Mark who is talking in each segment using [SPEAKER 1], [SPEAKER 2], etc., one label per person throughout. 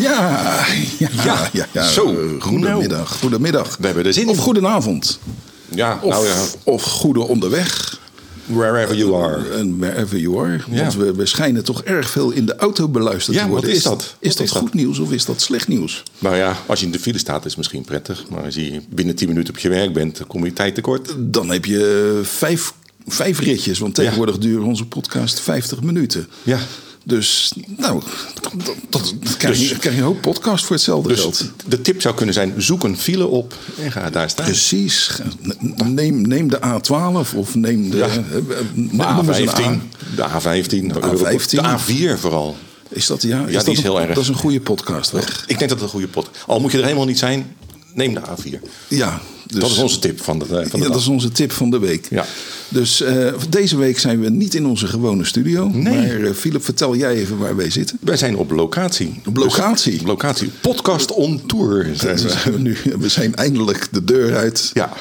[SPEAKER 1] Ja, ja, ja,
[SPEAKER 2] Ja,
[SPEAKER 1] ja,
[SPEAKER 2] zo. Nou.
[SPEAKER 1] eh, Goedemiddag, goedemiddag.
[SPEAKER 2] We hebben er zin in.
[SPEAKER 1] Of goedenavond.
[SPEAKER 2] Ja,
[SPEAKER 1] Of,
[SPEAKER 2] nou ja.
[SPEAKER 1] of goede onderweg.
[SPEAKER 2] Wherever you are.
[SPEAKER 1] En wherever you are.
[SPEAKER 2] Ja.
[SPEAKER 1] Want we, we schijnen toch erg veel in de auto beluisterd
[SPEAKER 2] Ja,
[SPEAKER 1] te
[SPEAKER 2] wat
[SPEAKER 1] worden.
[SPEAKER 2] is dat?
[SPEAKER 1] Is,
[SPEAKER 2] Wat
[SPEAKER 1] dat
[SPEAKER 2] is dat?
[SPEAKER 1] goed nieuws of is dat slecht nieuws?
[SPEAKER 2] Nou ja, als je in de file staat is het misschien prettig. Maar als je binnen 10 minuten op je werk bent, dan kom je tijd tekort.
[SPEAKER 1] Dan heb je eh, vijf, vijf ritjes. Want tegenwoordig duren onze podcast 50 minuten.
[SPEAKER 2] Ja.
[SPEAKER 1] Dus, nou, dat, dat, dat krijg, je, krijg je een hoop podcast voor hetzelfde geld.
[SPEAKER 2] Dus de tip zou kunnen zijn, zoek een file op en ga daar staan.
[SPEAKER 1] Dus Precies. Neem, neem de A12 of neem de,
[SPEAKER 2] Ja.
[SPEAKER 1] eh, eh,
[SPEAKER 2] de
[SPEAKER 1] noem eens een
[SPEAKER 2] A15.
[SPEAKER 1] A.
[SPEAKER 2] De A15.
[SPEAKER 1] A15.
[SPEAKER 2] De A4 vooral.
[SPEAKER 1] Is dat, ja, is
[SPEAKER 2] die
[SPEAKER 1] dat
[SPEAKER 2] is
[SPEAKER 1] een-
[SPEAKER 2] heel erg.
[SPEAKER 1] Dat is een goede podcast, weg.
[SPEAKER 2] Ik denk dat het een goede pot. Al moet je er helemaal niet zijn, neem de A4.
[SPEAKER 1] Ja, dus,
[SPEAKER 2] dat is onze tip van de, eh, van de
[SPEAKER 1] ja,
[SPEAKER 2] dag.
[SPEAKER 1] dat is onze tip van de week.
[SPEAKER 2] Ja.
[SPEAKER 1] Dus eh, deze week zijn we niet in onze gewone studio. Maar eh, Philip, vertel jij even waar wij zitten.
[SPEAKER 2] Wij zijn op locatie.
[SPEAKER 1] Op locatie?
[SPEAKER 2] Dus- op locatie. Podcast on tour. zijn we.
[SPEAKER 1] nu, we zijn eindelijk de deur uit.
[SPEAKER 2] Ja,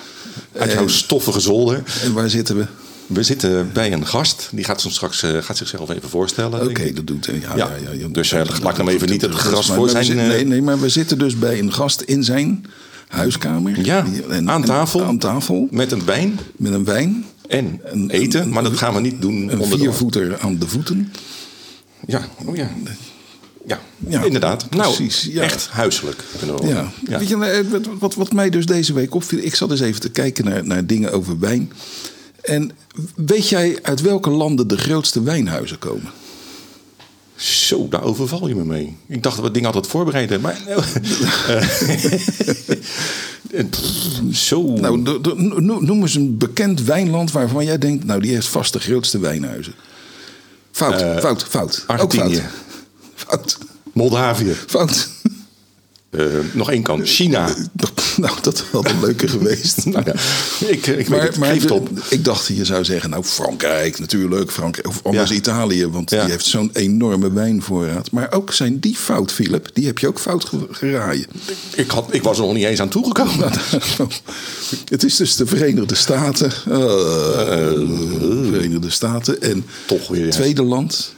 [SPEAKER 2] uit jouw
[SPEAKER 1] Eh.
[SPEAKER 2] stoffige zolder.
[SPEAKER 1] En waar zitten we?
[SPEAKER 2] We zitten bij een gast. Die gaat, ons straks, eh, gaat zichzelf even voorstellen.
[SPEAKER 1] Oké,
[SPEAKER 2] denk ik.
[SPEAKER 1] dat doet hij. Ja,
[SPEAKER 2] Ja. Dus, eh, laat ik hem even niet het
[SPEAKER 1] dat-
[SPEAKER 2] gras
[SPEAKER 1] dat-
[SPEAKER 2] voor
[SPEAKER 1] maar we
[SPEAKER 2] zijn,
[SPEAKER 1] zitten-
[SPEAKER 2] eh,
[SPEAKER 1] nee, nee, maar we zitten dus bij een gast in zijn huiskamer.
[SPEAKER 2] Ja, aan tafel.
[SPEAKER 1] aan tafel.
[SPEAKER 2] Met een wijn
[SPEAKER 1] Met een wijn.
[SPEAKER 2] en
[SPEAKER 1] Een-
[SPEAKER 2] eten.
[SPEAKER 1] een-
[SPEAKER 2] Maar dat gaan we niet doen
[SPEAKER 1] Een
[SPEAKER 2] onder de oor.
[SPEAKER 1] viervoeter aan de voeten.
[SPEAKER 2] Ja, oh ja. Ja,
[SPEAKER 1] Ja,
[SPEAKER 2] inderdaad. Nou,
[SPEAKER 1] precies, ja.
[SPEAKER 2] echt huiselijk. Kunnen we wel.
[SPEAKER 1] Ja.
[SPEAKER 2] Ja.
[SPEAKER 1] Weet je, eh, wat- wat, wat mij dus deze week opviel, ik zat eens even te kijken naar, naar dingen over wijn. En weet jij uit welke landen de grootste wijnhuizen komen?
[SPEAKER 2] Zo, daar overval je me mee. Ik dacht dat we het ding altijd voorbereiden. Maar. Eh, Zo.
[SPEAKER 1] Nou, de- de- no- noem eens een bekend wijnland waarvan jij denkt, nou die heeft vast de grootste wijnhuizen. Fout,
[SPEAKER 2] Eh,
[SPEAKER 1] fout, fout.
[SPEAKER 2] Argentinië.
[SPEAKER 1] Ook fout. Fout,
[SPEAKER 2] Moldavië.
[SPEAKER 1] fout.
[SPEAKER 2] Eh, nog één kant. China.
[SPEAKER 1] Nou, dat had een leuke geweest.
[SPEAKER 2] nou ja, ik, ik weet het.
[SPEAKER 1] Maar, maar
[SPEAKER 2] Geef het
[SPEAKER 1] de-
[SPEAKER 2] op.
[SPEAKER 1] ik dacht, je zou zeggen, nou Frankrijk natuurlijk, Frankrijk, of anders
[SPEAKER 2] Ja.
[SPEAKER 1] Italië, want
[SPEAKER 2] Ja.
[SPEAKER 1] die heeft zo'n enorme wijnvoorraad. Maar ook zijn die fout, Philip, die heb je ook fout ge- geraaien.
[SPEAKER 2] Ik, had, ik was er nog niet eens aan toegekomen.
[SPEAKER 1] Het is dus de Verenigde Staten, eh, Verenigde Staten en
[SPEAKER 2] Toch weer, ja.
[SPEAKER 1] tweede land,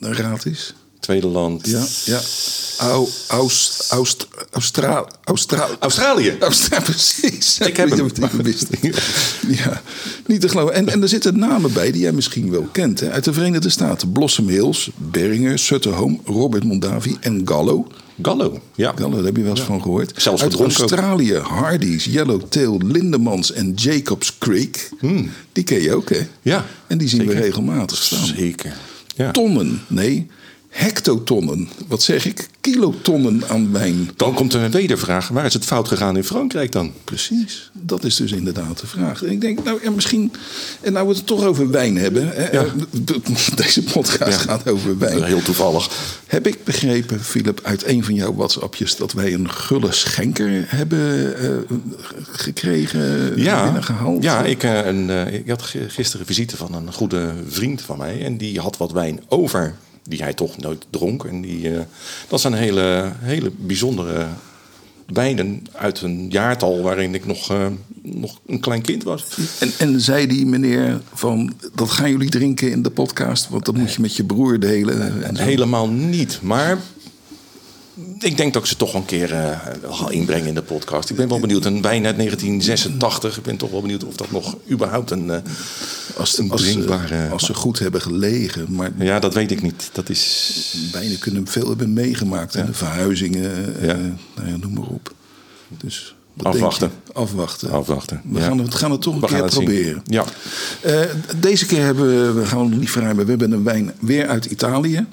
[SPEAKER 1] een raad is.
[SPEAKER 2] Tweede land.
[SPEAKER 1] Ja, ja. Au, Aust, Aust, Austra, Austra,
[SPEAKER 2] Australië.
[SPEAKER 1] Austra, precies.
[SPEAKER 2] Ik heb hem.
[SPEAKER 1] Die wist ik. Ja, niet te geloven. En, en er zitten namen bij die jij misschien wel kent. Hè? Uit de Verenigde Staten. Blossom Hills, Beringer, Sutterhome, Robert Mondavi en Gallo.
[SPEAKER 2] Gallo. Ja.
[SPEAKER 1] Gallo, daar heb je wel eens van gehoord.
[SPEAKER 2] Zelfs
[SPEAKER 1] Uit
[SPEAKER 2] gedronken ook.
[SPEAKER 1] Australië, Hardy's, Yellowtail, Lindemans en Jacobs Creek. Die ken je ook, hè?
[SPEAKER 2] Hmm. Ja,
[SPEAKER 1] En die zien we
[SPEAKER 2] zeker.
[SPEAKER 1] regelmatig staan.
[SPEAKER 2] Zeker. Ja.
[SPEAKER 1] Tonnen, nee, hectotonnen. Wat zeg ik? Kilotonnen aan wijn.
[SPEAKER 2] Dan komt er een wedervraag. Waar is het fout gegaan in Frankrijk dan?
[SPEAKER 1] Precies, dat is dus inderdaad de vraag. En ik denk, nou ja, misschien. En nou we het toch over wijn hebben. hè,
[SPEAKER 2] Ja.
[SPEAKER 1] eh, de- de- Deze podcast
[SPEAKER 2] Ja.
[SPEAKER 1] gaat over wijn.
[SPEAKER 2] Eh, Heel toevallig.
[SPEAKER 1] Heb ik begrepen, Philip, uit een van jouw WhatsAppjes dat wij een gulle schenker hebben eh, gekregen, binnengehaald?
[SPEAKER 2] Ja, ik, eh, een, eh, ik had g- gisteren visite van een goede vriend van mij. En die had wat wijn over, die hij toch nooit dronk. En die, eh, dat zijn hele, hele bijzondere wijnen uit een jaartal waarin ik nog, eh, nog een klein kind was.
[SPEAKER 1] En, en zei die meneer van dat gaan jullie drinken in de podcast, want dat moet je met je broer delen. En zo.
[SPEAKER 2] Helemaal niet, maar... Ik denk dat ik ze toch wel een keer eh, ga inbrengen in de podcast. Ik ben wel benieuwd. Een wijn uit 1986. Ik ben toch wel benieuwd of dat nog überhaupt een, eh,
[SPEAKER 1] als,
[SPEAKER 2] een
[SPEAKER 1] als, ze,
[SPEAKER 2] drinkbare-
[SPEAKER 1] als ze goed hebben gelegen, maar
[SPEAKER 2] Ja, dat weet ik niet. Dat is...
[SPEAKER 1] Bijna kunnen veel hebben meegemaakt. En de verhuizingen, eh,
[SPEAKER 2] Ja.
[SPEAKER 1] nou ja, noem maar op. Dus wat
[SPEAKER 2] Afwachten.
[SPEAKER 1] denk je? Afwachten.
[SPEAKER 2] Afwachten,
[SPEAKER 1] We
[SPEAKER 2] ja.
[SPEAKER 1] gaan, het, gaan het toch een
[SPEAKER 2] We
[SPEAKER 1] keer
[SPEAKER 2] gaan het zien.
[SPEAKER 1] proberen.
[SPEAKER 2] Ja.
[SPEAKER 1] Eh, deze keer hebben we, we gaan het niet verruimen. We hebben een wijn weer uit Italië.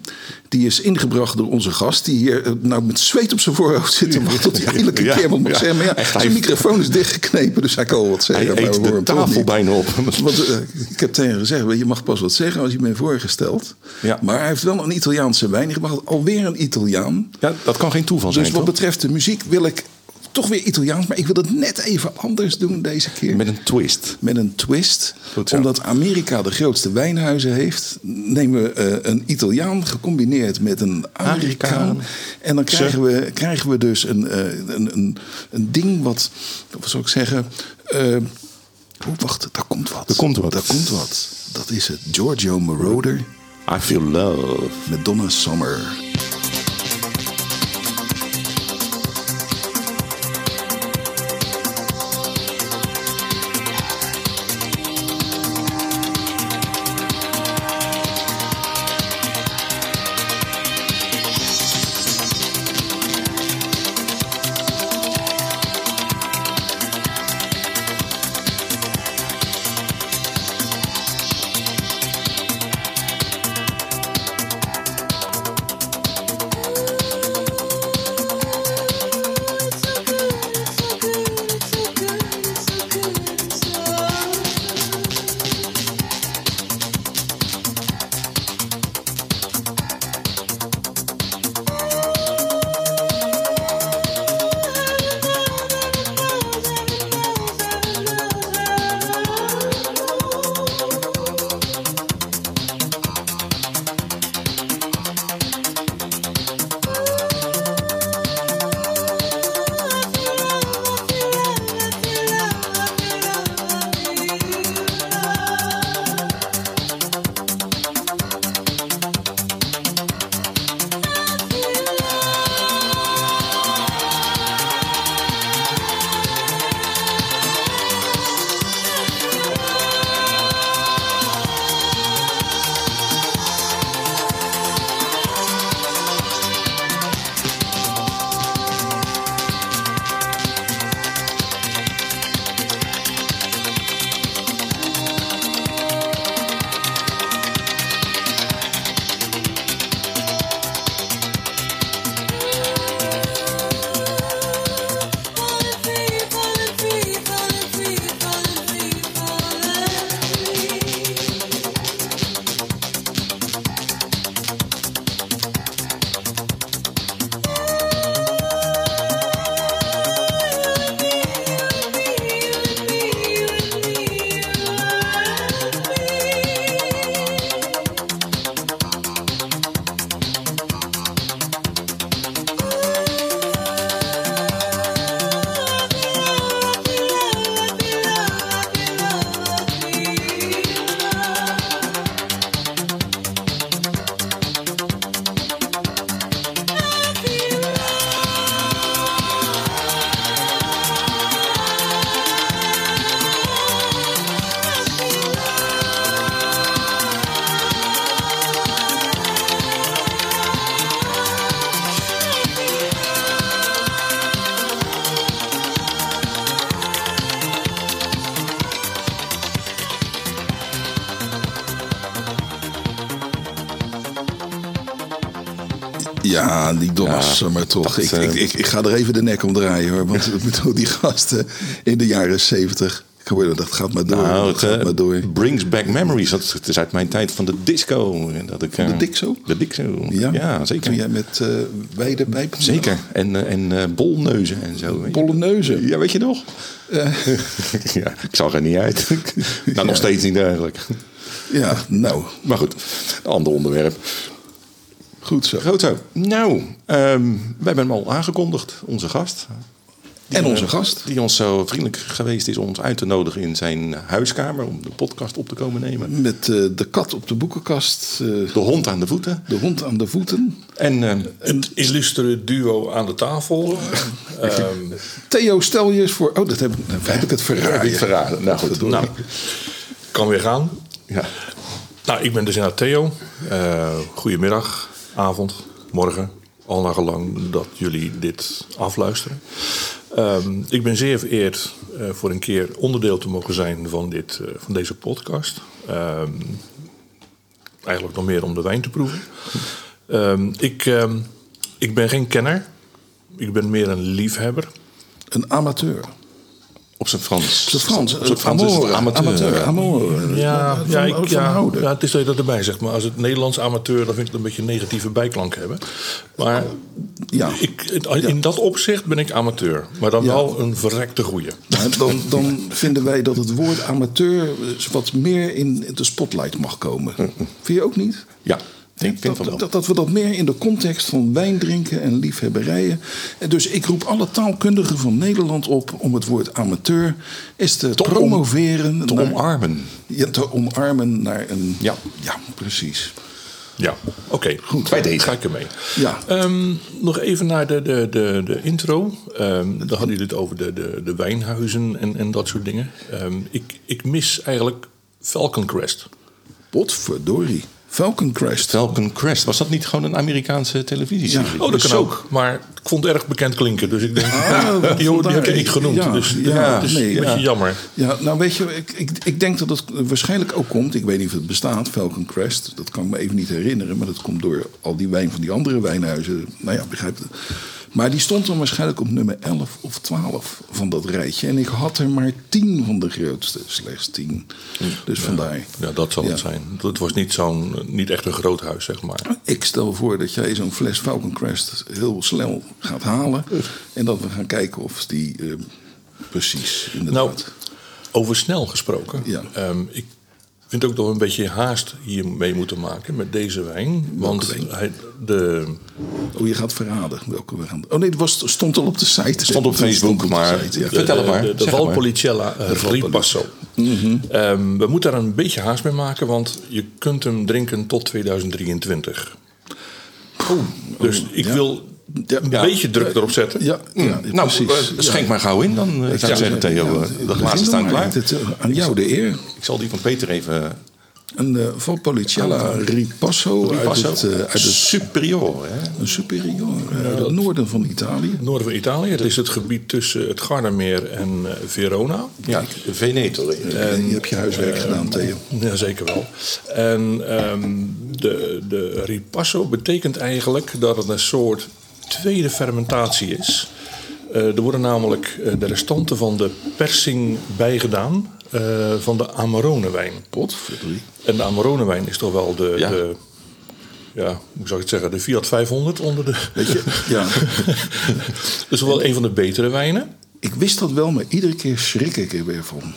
[SPEAKER 1] Die is ingebracht door onze gast. Die hier eh, nou met zweet op zijn voorhoofd zit. te wachten Tot hij eindelijk een
[SPEAKER 2] Ja,
[SPEAKER 1] keer wat mag
[SPEAKER 2] ja.
[SPEAKER 1] zeggen. Maar ja,
[SPEAKER 2] Echt,
[SPEAKER 1] zijn
[SPEAKER 2] hij-
[SPEAKER 1] microfoon is dichtgeknepen. Dus hij kan wel wat zeggen.
[SPEAKER 2] Hij
[SPEAKER 1] maar we
[SPEAKER 2] eet
[SPEAKER 1] horen
[SPEAKER 2] de
[SPEAKER 1] hem toch
[SPEAKER 2] tafel
[SPEAKER 1] niet.
[SPEAKER 2] bijna op.
[SPEAKER 1] Want eh, ik heb tegen hem gezegd, je mag pas wat zeggen als je bent voorgesteld.
[SPEAKER 2] Ja.
[SPEAKER 1] Maar hij heeft wel een Italiaanse wijn gebracht. Alweer een Italiaan.
[SPEAKER 2] Ja, dat kan geen toeval zijn,
[SPEAKER 1] Dus wat
[SPEAKER 2] toch?
[SPEAKER 1] betreft de muziek wil ik toch weer Italiaans. Maar ik wil het net even anders doen deze keer.
[SPEAKER 2] Met een twist.
[SPEAKER 1] Met een twist.
[SPEAKER 2] Goed zo.
[SPEAKER 1] Omdat Amerika de grootste wijnhuizen heeft, nemen we eh, een Italiaan gecombineerd met een Amerikaan.
[SPEAKER 2] Amerikaan.
[SPEAKER 1] En dan
[SPEAKER 2] Ze.
[SPEAKER 1] krijgen we, krijgen we dus een, eh, een, een, een ding wat, wat zou ik zeggen. eh, oh, wacht, daar komt wat.
[SPEAKER 2] Er komt wat.
[SPEAKER 1] Daar komt wat. Dat is het Giorgio Moroder
[SPEAKER 2] I feel love.
[SPEAKER 1] met Donna Summer. Ja, die Donnas,
[SPEAKER 2] Ja,
[SPEAKER 1] maar toch.
[SPEAKER 2] dat,
[SPEAKER 1] ik,
[SPEAKER 2] eh,
[SPEAKER 1] ik, ik, ik ga er even de nek om draaien hoor. Want ik bedoel, die gasten in de jaren zeventig. Dat gaat maar door.
[SPEAKER 2] Nou,
[SPEAKER 1] dat
[SPEAKER 2] het
[SPEAKER 1] gaat
[SPEAKER 2] eh,
[SPEAKER 1] maar door.
[SPEAKER 2] brings back memories. Dat is- het is uit mijn tijd van de disco. En Dat ik, eh,
[SPEAKER 1] De Dixo?
[SPEAKER 2] De Dixo,
[SPEAKER 1] Ja,
[SPEAKER 2] ja, zeker.
[SPEAKER 1] Toen jij met eh wijde pijpen.
[SPEAKER 2] Zeker. En, eh, en eh, bolneuzen en zo. weet je.
[SPEAKER 1] Bolle neuzen.
[SPEAKER 2] Ja, weet je nog? ja, ik zag er niet uit. nou, nog steeds niet eigenlijk.
[SPEAKER 1] Ja, nou,
[SPEAKER 2] Maar goed, een ander onderwerp.
[SPEAKER 1] goed zo.
[SPEAKER 2] Goed zo. Nou, ehm we hebben hem al aangekondigd, onze gast.
[SPEAKER 1] En onze
[SPEAKER 2] eh,
[SPEAKER 1] gast.
[SPEAKER 2] Die ons zo vriendelijk geweest is om ons uit te nodigen in zijn huiskamer om de podcast op te komen nemen.
[SPEAKER 1] Met eh, de kat op de boekenkast, eh,
[SPEAKER 2] De hond aan de voeten.
[SPEAKER 1] de hond aan de voeten.
[SPEAKER 2] En ehm,
[SPEAKER 3] Het illustere duo aan de tafel. Ehm,
[SPEAKER 1] Theo, stel je eens voor. Oh, dat heb ik, nou, heb ik het verraden.
[SPEAKER 2] ik verraden. Nou goed.
[SPEAKER 1] Verdorie.
[SPEAKER 3] nou, kan weer gaan.
[SPEAKER 2] ja.
[SPEAKER 3] Nou, ik ben dus inderdaad Theo. Eh, goedemiddag, avond, morgen. Al naar gelang dat jullie dit afluisteren. Ehm, ik ben zeer vereerd eh, voor een keer onderdeel te mogen zijn van, dit, eh, van deze podcast. Ehm, eigenlijk nog meer om de wijn te proeven. Ehm, ik, ehm, ik ben geen kenner. Ik ben meer een liefhebber.
[SPEAKER 1] Een amateur.
[SPEAKER 2] Op zijn Frans.
[SPEAKER 1] De Frans.
[SPEAKER 2] Op zijn Frans is het
[SPEAKER 1] amore,
[SPEAKER 2] amateur.
[SPEAKER 1] Amateur. amore.
[SPEAKER 3] Ja,
[SPEAKER 1] Van-
[SPEAKER 3] ja, ik,
[SPEAKER 1] van
[SPEAKER 3] ja,
[SPEAKER 1] houden.
[SPEAKER 3] ja, het is dat je dat erbij zegt. Maar als het Nederlands amateur, dan vind ik het een beetje een negatieve bijklank hebben. Maar
[SPEAKER 1] Ja.
[SPEAKER 3] ik, in dat opzicht ben ik amateur. Maar dan
[SPEAKER 1] Ja.
[SPEAKER 3] wel een verrekte goeie.
[SPEAKER 1] Maar Dan, dan vinden wij dat het woord amateur eh, wat meer in de spotlight mag komen. Vind je ook niet?
[SPEAKER 2] Ja, Hm. ik vind van wel.
[SPEAKER 1] dat, dat, dat we dat meer in de context van wijn drinken en liefhebberijen. En dus ik roep alle taalkundigen van Nederland op om het woord amateur eens te,
[SPEAKER 2] om-
[SPEAKER 1] promoveren.
[SPEAKER 2] Te
[SPEAKER 1] naar-
[SPEAKER 2] omarmen.
[SPEAKER 1] ja, te omarmen naar een.
[SPEAKER 2] Ja.
[SPEAKER 1] ja precies.
[SPEAKER 3] Ja, oké. goed.
[SPEAKER 2] bij deze.
[SPEAKER 3] Ga ik ermee.
[SPEAKER 1] Ja.
[SPEAKER 3] Ehm, nog even naar de, de, de, de intro. Ehm dan hadden jullie het over de, de, de wijnhuizen en, en dat soort dingen. Ehm, ik, ik mis eigenlijk Falcon Crest.
[SPEAKER 1] Potverdorie. Falcon Crest.
[SPEAKER 2] Falcon Crest. Was dat niet gewoon een Amerikaanse televisieserie?
[SPEAKER 1] Ja.
[SPEAKER 3] Oh, dat kan
[SPEAKER 1] Zo.
[SPEAKER 3] ook. Maar ik vond het erg bekend klinken. Dus ik denk,
[SPEAKER 1] Ah,
[SPEAKER 3] die hoorde- die heb
[SPEAKER 1] vandaar.
[SPEAKER 3] ik genoemd.
[SPEAKER 1] Ja,
[SPEAKER 3] dus
[SPEAKER 1] ja,
[SPEAKER 3] ja, het is
[SPEAKER 1] nee,
[SPEAKER 3] een beetje
[SPEAKER 1] ja.
[SPEAKER 3] jammer.
[SPEAKER 1] Ja, nou weet je, ik, ik, ik denk dat het waarschijnlijk ook komt. Ik weet niet of het bestaat, Falcon Crest. Dat kan ik me even niet herinneren. Maar dat komt door al die wijn van die andere wijnhuizen. Nou ja, begrijp het. Maar die stond dan waarschijnlijk op nummer 11 of 12 van dat rijtje. En ik had er maar 10 van de grootste, slechts 10. Dus vandaar.
[SPEAKER 3] Ja, dat zal
[SPEAKER 1] Ja.
[SPEAKER 3] het zijn. Dat was niet, zo'n, niet echt een groot huis, zeg maar.
[SPEAKER 1] Ik stel voor dat jij zo'n fles Falcon Crest heel snel gaat halen. En dat we gaan kijken of die eh, precies
[SPEAKER 3] Nou,
[SPEAKER 1] inderdaad...
[SPEAKER 3] over snel gesproken.
[SPEAKER 1] Ja.
[SPEAKER 3] Ehm, ik vind ook dat we een beetje haast hiermee moeten maken met deze wijn. Want
[SPEAKER 1] wijn?
[SPEAKER 3] Hij, de,
[SPEAKER 1] Oh, je gaat verraden welke we gaan. Oh nee, het was, stond al op de site. Het
[SPEAKER 2] Stond op
[SPEAKER 1] stond
[SPEAKER 2] Facebook,
[SPEAKER 1] op de
[SPEAKER 2] maar
[SPEAKER 1] site, ja.
[SPEAKER 2] vertel het
[SPEAKER 3] de,
[SPEAKER 2] maar.
[SPEAKER 3] de, de
[SPEAKER 2] Zeg het maar.
[SPEAKER 3] Valpolicella eh, Ripasso. Ehm, we moeten daar een beetje haast mee maken, want je kunt hem drinken tot 2023. dus ik
[SPEAKER 1] Oh, ja.
[SPEAKER 3] wil
[SPEAKER 1] Ja.
[SPEAKER 3] een beetje druk erop zetten.
[SPEAKER 1] Ja, ja,
[SPEAKER 2] Nou,
[SPEAKER 1] precies.
[SPEAKER 2] eh, schenk maar gauw in. Dan eh, zou ik
[SPEAKER 3] ja,
[SPEAKER 2] zeggen, Theo, eh, de glazen staan klaar.
[SPEAKER 1] Het, eh, aan jou de eer.
[SPEAKER 2] Ik zal die van Peter even...
[SPEAKER 1] Een eh Valpolicella Ripasso, uit
[SPEAKER 2] Ah, Ripasso.
[SPEAKER 1] het, eh, uit het
[SPEAKER 2] superior, hè?
[SPEAKER 1] een superior,
[SPEAKER 2] Nou,
[SPEAKER 1] eh, uit het noorden van Italië.
[SPEAKER 3] Noorden van Italië. Het is het gebied tussen het Gardameer en eh, Verona.
[SPEAKER 2] Ja, Veneto.
[SPEAKER 1] je hebt je huiswerk gedaan, Theo.
[SPEAKER 3] Ja, zeker wel. En ehm, de, de ripasso betekent eigenlijk dat het een soort tweede fermentatie is. Eh, er worden namelijk eh, de restanten van de persing bijgedaan eh, van de Amarone-wijn.
[SPEAKER 1] Potverdrie.
[SPEAKER 3] En de Amarone-wijn is toch wel de...
[SPEAKER 2] Ja.
[SPEAKER 3] de ja, hoe zou ik het zeggen? De Fiat 500 onder de...
[SPEAKER 1] Weet je, ja.
[SPEAKER 3] Dat is wel een van de betere wijnen.
[SPEAKER 1] Ik wist dat wel, maar iedere keer schrik ik er weer van.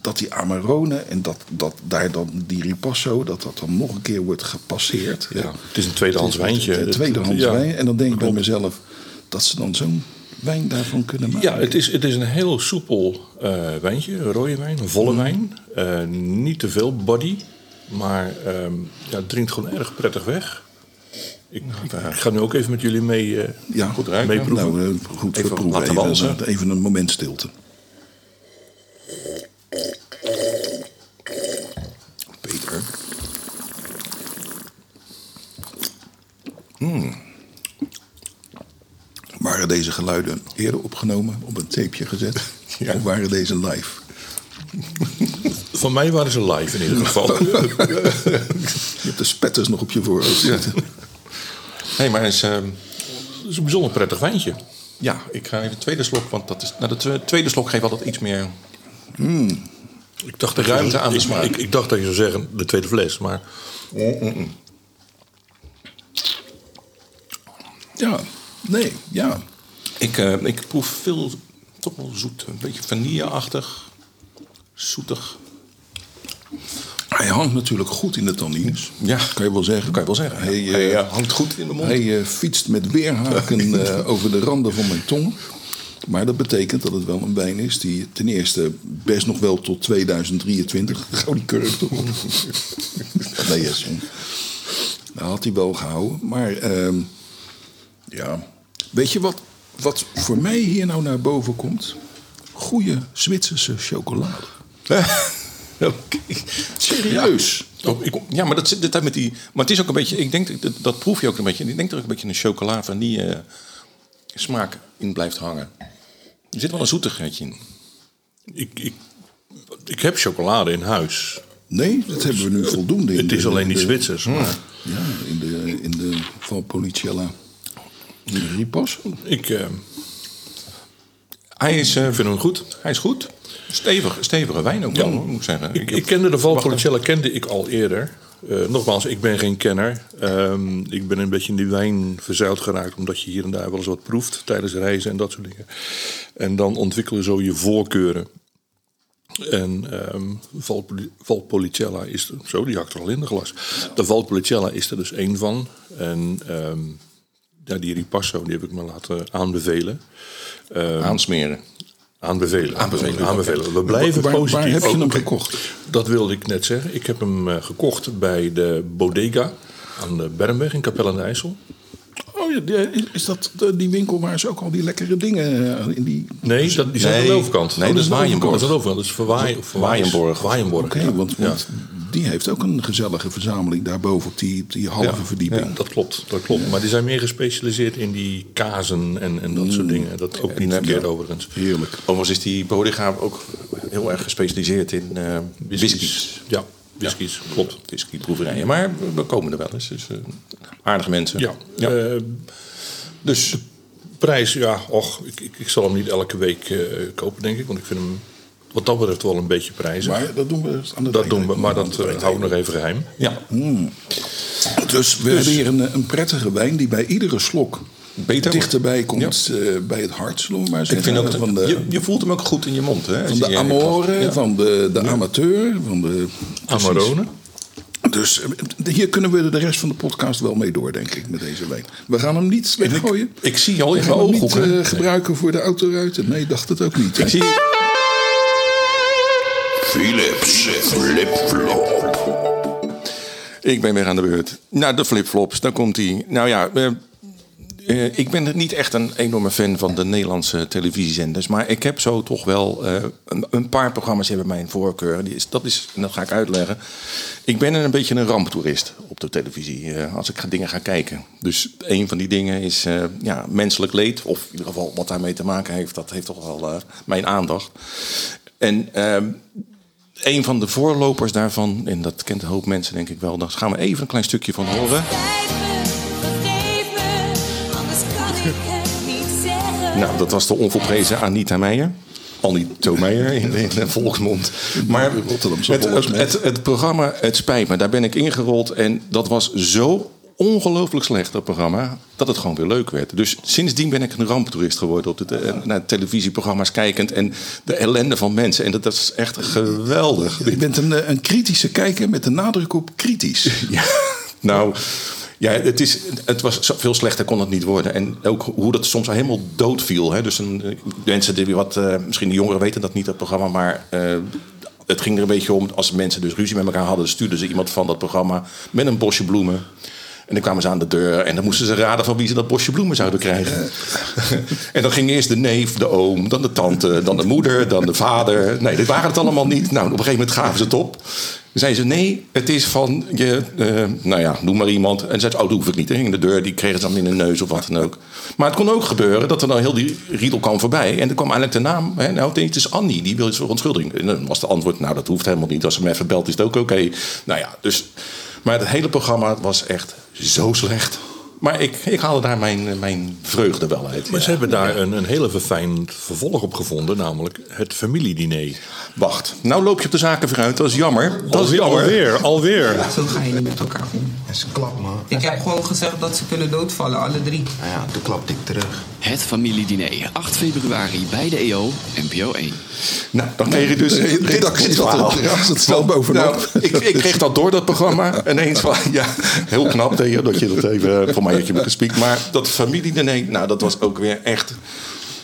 [SPEAKER 1] Dat die Amarone en dat, dat daar dan die Ripasso, dat dat dan nog een keer wordt gepasseerd.
[SPEAKER 3] Ja, het is een tweedehands wijntje.
[SPEAKER 1] Een tweedehands
[SPEAKER 3] Ja.
[SPEAKER 1] wijn. En dan denk ik bij mezelf dat ze dan zo'n wijn daarvan kunnen maken.
[SPEAKER 3] Ja, het is, het is een heel soepel eh, wijntje, een rode wijn, een
[SPEAKER 2] Mhm.
[SPEAKER 3] volle wijn. Eh, niet te veel body, maar ehm, ja, het drinkt gewoon erg prettig weg. Ik,
[SPEAKER 2] Nou,
[SPEAKER 3] ik, ik ga nu ook even met jullie mee. eh,
[SPEAKER 1] ja.
[SPEAKER 2] goed ruiken.
[SPEAKER 3] meeproeven.
[SPEAKER 1] Nou, eh, goed, we
[SPEAKER 2] Even
[SPEAKER 1] proeven
[SPEAKER 2] laten
[SPEAKER 1] even,
[SPEAKER 2] walsen.
[SPEAKER 1] een- even een moment stilte.
[SPEAKER 2] Peter.
[SPEAKER 1] Hmm. Waren deze geluiden eerder opgenomen, op een tapeje gezet?
[SPEAKER 2] Ja.
[SPEAKER 1] Of waren deze live?
[SPEAKER 3] Van Nou, mij waren ze live in ieder geval.
[SPEAKER 1] Je hebt de spetters nog op je voorhoofd zitten.
[SPEAKER 2] Nee, maar het is, ehm,
[SPEAKER 3] Het is een bijzonder prettig wijntje.
[SPEAKER 2] ja, ik ga even een tweede slok, want dat is, nou, de twe- tweede slok geeft altijd iets meer
[SPEAKER 3] Ik dacht dat je-
[SPEAKER 2] Hmm. Ruimte aan de
[SPEAKER 3] ik-
[SPEAKER 2] smaak.
[SPEAKER 3] Ik, ik dacht dat je zou zeggen de tweede fles, maar
[SPEAKER 1] Ja, nee, ja.
[SPEAKER 2] Ik, eh, ik proef veel, toch wel zoet. Een beetje vanilleachtig, zoetig.
[SPEAKER 1] Hij hangt natuurlijk goed in de tannines.
[SPEAKER 2] Ja.
[SPEAKER 1] Kan je wel zeggen.
[SPEAKER 2] Kan je wel zeggen.
[SPEAKER 1] Hij,
[SPEAKER 2] ja.
[SPEAKER 1] eh,
[SPEAKER 2] Hij, eh, hangt goed in de mond.
[SPEAKER 1] Hij eh, fietst met weerhaken eh, over de randen van mijn tong. Maar dat betekent dat het wel een wijn is die ten eerste best nog wel tot 2023... Gauw die kurk toch op. nee, yes, jong. Dat had hij wel gehouden. Maar ehm, ja, weet je wat, wat voor mij hier nou naar boven komt? Goeie Zwitserse chocolade.
[SPEAKER 2] Oké.
[SPEAKER 1] Serieus?
[SPEAKER 2] Ja, Oh, ik- ja, maar dat zit de tijd met die. Maar het is ook een beetje. Ik denk dat dat proef je ook een beetje. Ik denk dat er ook een beetje een chocola van die eh, smaak in blijft hangen. Er zit wel een zoetigheidje in.
[SPEAKER 3] ik, ik, ik heb chocolade in huis.
[SPEAKER 1] Nee, dat hebben we nu voldoende. in
[SPEAKER 3] Het is
[SPEAKER 1] de-
[SPEAKER 3] alleen
[SPEAKER 1] in
[SPEAKER 3] die
[SPEAKER 1] de-
[SPEAKER 3] Zwitsers.
[SPEAKER 2] Hmm.
[SPEAKER 3] Maar
[SPEAKER 1] Ja, in de, in de Valpolicella. Ripas?
[SPEAKER 3] ik eh,
[SPEAKER 2] Hij is, eh,
[SPEAKER 3] vind hem goed.
[SPEAKER 2] hij is goed. Stevig, stevige wijn ook wel, hoor, moet ik zeggen.
[SPEAKER 1] eh,
[SPEAKER 3] Ik, ik kende de Valpolicella kende ik al eerder. Eh, nogmaals, ik ben geen kenner. Ehm, ik ben een beetje in die wijn verzeild geraakt, omdat je hier en daar wel eens wat proeft tijdens reizen en dat soort dingen. En dan ontwikkelen zo je voorkeuren. En ehm Valpoli- Valpolicella is er, zo, die hakt er al in de glas. De Valpolicella is er dus één van. En ehm, ja, die Ripasso, die heb ik me laten aanbevelen. Ehm,
[SPEAKER 2] Aansmeren.
[SPEAKER 3] Aanbevelen.
[SPEAKER 2] Aanbevelen.
[SPEAKER 3] Aanbevelen. We blijven
[SPEAKER 1] waar,
[SPEAKER 3] positief.
[SPEAKER 1] Waar heb je
[SPEAKER 3] Oh,
[SPEAKER 1] hem
[SPEAKER 3] oké.
[SPEAKER 1] gekocht?
[SPEAKER 3] Dat wilde ik net zeggen. Ik heb hem eh, gekocht bij de Bodega aan de Bermweg in Capelle aan de IJssel.
[SPEAKER 1] Oh, ja, die- is dat de- die winkel waar ze ook al die lekkere dingen eh, in die...
[SPEAKER 3] Nee, dat, die zijn aan de
[SPEAKER 2] Nee.
[SPEAKER 3] overkant.
[SPEAKER 2] Nee, dat is
[SPEAKER 3] de
[SPEAKER 2] Waaienborg.
[SPEAKER 3] overkant. Dat is aan de overkant. Dat is Verwaai- Verwaai-
[SPEAKER 2] Waaienborg.
[SPEAKER 3] Waaienborg,
[SPEAKER 1] Oké,
[SPEAKER 3] ja.
[SPEAKER 1] want, want die heeft ook een gezellige verzameling daarboven op die, die halve
[SPEAKER 3] Ja,
[SPEAKER 1] verdieping.
[SPEAKER 3] ja, dat klopt, dat klopt. Maar die zijn meer gespecialiseerd in die kazen en, en dat soort dingen. Dat ook niet
[SPEAKER 2] ja.
[SPEAKER 3] verkeerd overigens.
[SPEAKER 1] Heerlijk.
[SPEAKER 2] Overigens is die bodega ook heel erg gespecialiseerd in eh whiskies.
[SPEAKER 3] Ja, whiskies, klopt.
[SPEAKER 2] Whiskyproeverijen. Maar we- we komen er wel eens. Dus, eh, aardige mensen.
[SPEAKER 3] Ja, eh, dus de prijs, ja, och, ik, ik, ik zal hem niet elke week eh, kopen, denk ik. Want ik vind hem wat dat betreft wel een beetje prijzig.
[SPEAKER 1] Maar dat doen we aan de
[SPEAKER 3] dat doen we, maar dat eh, hou ik nog even geheim.
[SPEAKER 2] ja.
[SPEAKER 1] Dus we hebben hier een, een prettige wijn die bij iedere slok
[SPEAKER 2] Beter
[SPEAKER 1] dichterbij komt eh, bij het hart, zullen we maar
[SPEAKER 2] Ik
[SPEAKER 1] zeggen. eh,
[SPEAKER 2] vind ook
[SPEAKER 1] van
[SPEAKER 2] dat,
[SPEAKER 1] de,
[SPEAKER 2] je, je voelt hem ook goed in je mond. Hè?
[SPEAKER 1] van de amore, van de, de amateur, van de...
[SPEAKER 3] Amarone.
[SPEAKER 1] Dus eh, hier kunnen we de rest van de podcast wel mee door, denk ik, met deze wijn. We gaan hem niet weggooien.
[SPEAKER 2] Ik zie al
[SPEAKER 3] Oh,
[SPEAKER 1] We
[SPEAKER 2] in mijn
[SPEAKER 1] gaan hem niet
[SPEAKER 2] ooghoeken.
[SPEAKER 1] eh, gebruiken voor de autoruiten. Nee, dacht het ook niet. hè?
[SPEAKER 2] Ik zie,
[SPEAKER 1] Philips flip-flop.
[SPEAKER 2] ik ben weer aan de beurt. Nou, de flipflops, daar komt hij. Nou ja, eh, eh, ik ben niet echt een enorme fan van de Nederlandse televisiezenders. Maar ik heb zo toch wel... eh, een, een paar programma's hebben mijn voorkeur. Die is, dat is, en dat ga ik uitleggen. Ik ben een beetje een ramptoerist op de televisie. eh, als ik ga, dingen ga kijken. Dus een van die dingen is eh, ja, menselijk leed. Of in ieder geval wat daarmee te maken heeft. Dat heeft toch wel eh, mijn aandacht. En... ehm, een van de voorlopers daarvan, en dat kent een hoop mensen denk ik wel, daar gaan we even een klein stukje van horen.
[SPEAKER 4] Vergeef me, vergeef me, anders kan ik het niet zeggen.
[SPEAKER 2] Nou, dat was de onvolprezen Anita Meijer. Anito Meijer in de, in de volksmond. Maar
[SPEAKER 1] de Rotterdamse
[SPEAKER 2] het, het,
[SPEAKER 1] volksmond.
[SPEAKER 2] het, het programma, het spijt me, daar ben ik ingerold. En dat was zo ongelooflijk slecht, dat programma, dat het gewoon weer leuk werd. Dus sindsdien ben ik een ramptoerist geworden op de, te- eh, naar televisieprogramma's kijkend. En de ellende van mensen. En dat, dat is echt geweldig.
[SPEAKER 1] Je bent een, eh, een kritische kijker met de nadruk op kritisch.
[SPEAKER 2] Ja, nou, ja, het, is, het was zo- veel slechter kon het niet worden. En ook hoe dat soms helemaal dood viel. Hè? Dus een, eh, mensen die wat, eh, misschien de jongeren weten dat niet, dat programma, maar eh, het ging er een beetje om, als mensen dus ruzie met elkaar hadden, stuurden ze iemand van dat programma met een bosje bloemen. En dan kwamen ze aan de deur en dan moesten ze raden van wie ze dat bosje bloemen zouden krijgen. en dan ging eerst de neef, de oom, dan de tante, dan de moeder, dan de vader. Nee, dit waren het allemaal niet. Nou, op een gegeven moment gaven ze het op. Dan zei ze, nee, het is van je, eh, nou ja, noem maar iemand. En zei ze, oh, dat hoef ik niet. Dan ging de deur, die kregen ze dan in de neus of wat dan ook. Maar het kon ook gebeuren dat er dan heel die riedel kwam voorbij. En er kwam eigenlijk de naam, hè, nou, het is Annie, die wil iets verontschuldiging. En dan was de antwoord, nou, dat hoeft helemaal niet. Als ze me even belt, is het ook oké. Nou ja, dus... Maar het hele programma was echt zo slecht. Maar ik, ik haalde daar mijn, mijn vreugde wel uit.
[SPEAKER 3] Maar
[SPEAKER 2] ja.
[SPEAKER 3] ze hebben daar een, een hele verfijnd vervolg op gevonden, namelijk het familiediner.
[SPEAKER 2] Wacht, nou loop je op de zaken vooruit. Dat is jammer. Dat is
[SPEAKER 3] Alweer,
[SPEAKER 2] jammer.
[SPEAKER 3] Alweer, alweer.
[SPEAKER 5] Zo ga je niet met elkaar om. Dat is een klap, man.
[SPEAKER 6] Ik heb gewoon gezegd dat ze kunnen doodvallen, alle drie.
[SPEAKER 5] Nou ja, toen klapte ik terug.
[SPEAKER 7] Het familiediner, 8 februari bij de E EO, NPO 1.
[SPEAKER 2] Nou, dan kreeg je dus
[SPEAKER 1] Nee,
[SPEAKER 2] een
[SPEAKER 1] nee, dat- dat- dat- dat staat bovenop.
[SPEAKER 2] Nou, ik, ik kreeg dat door, dat programma. Ineens van, ja, heel knap Theo, dat je dat even... eh, Voor mij dat je me gespiekt. Maar dat familiediner, nou, dat was ook weer echt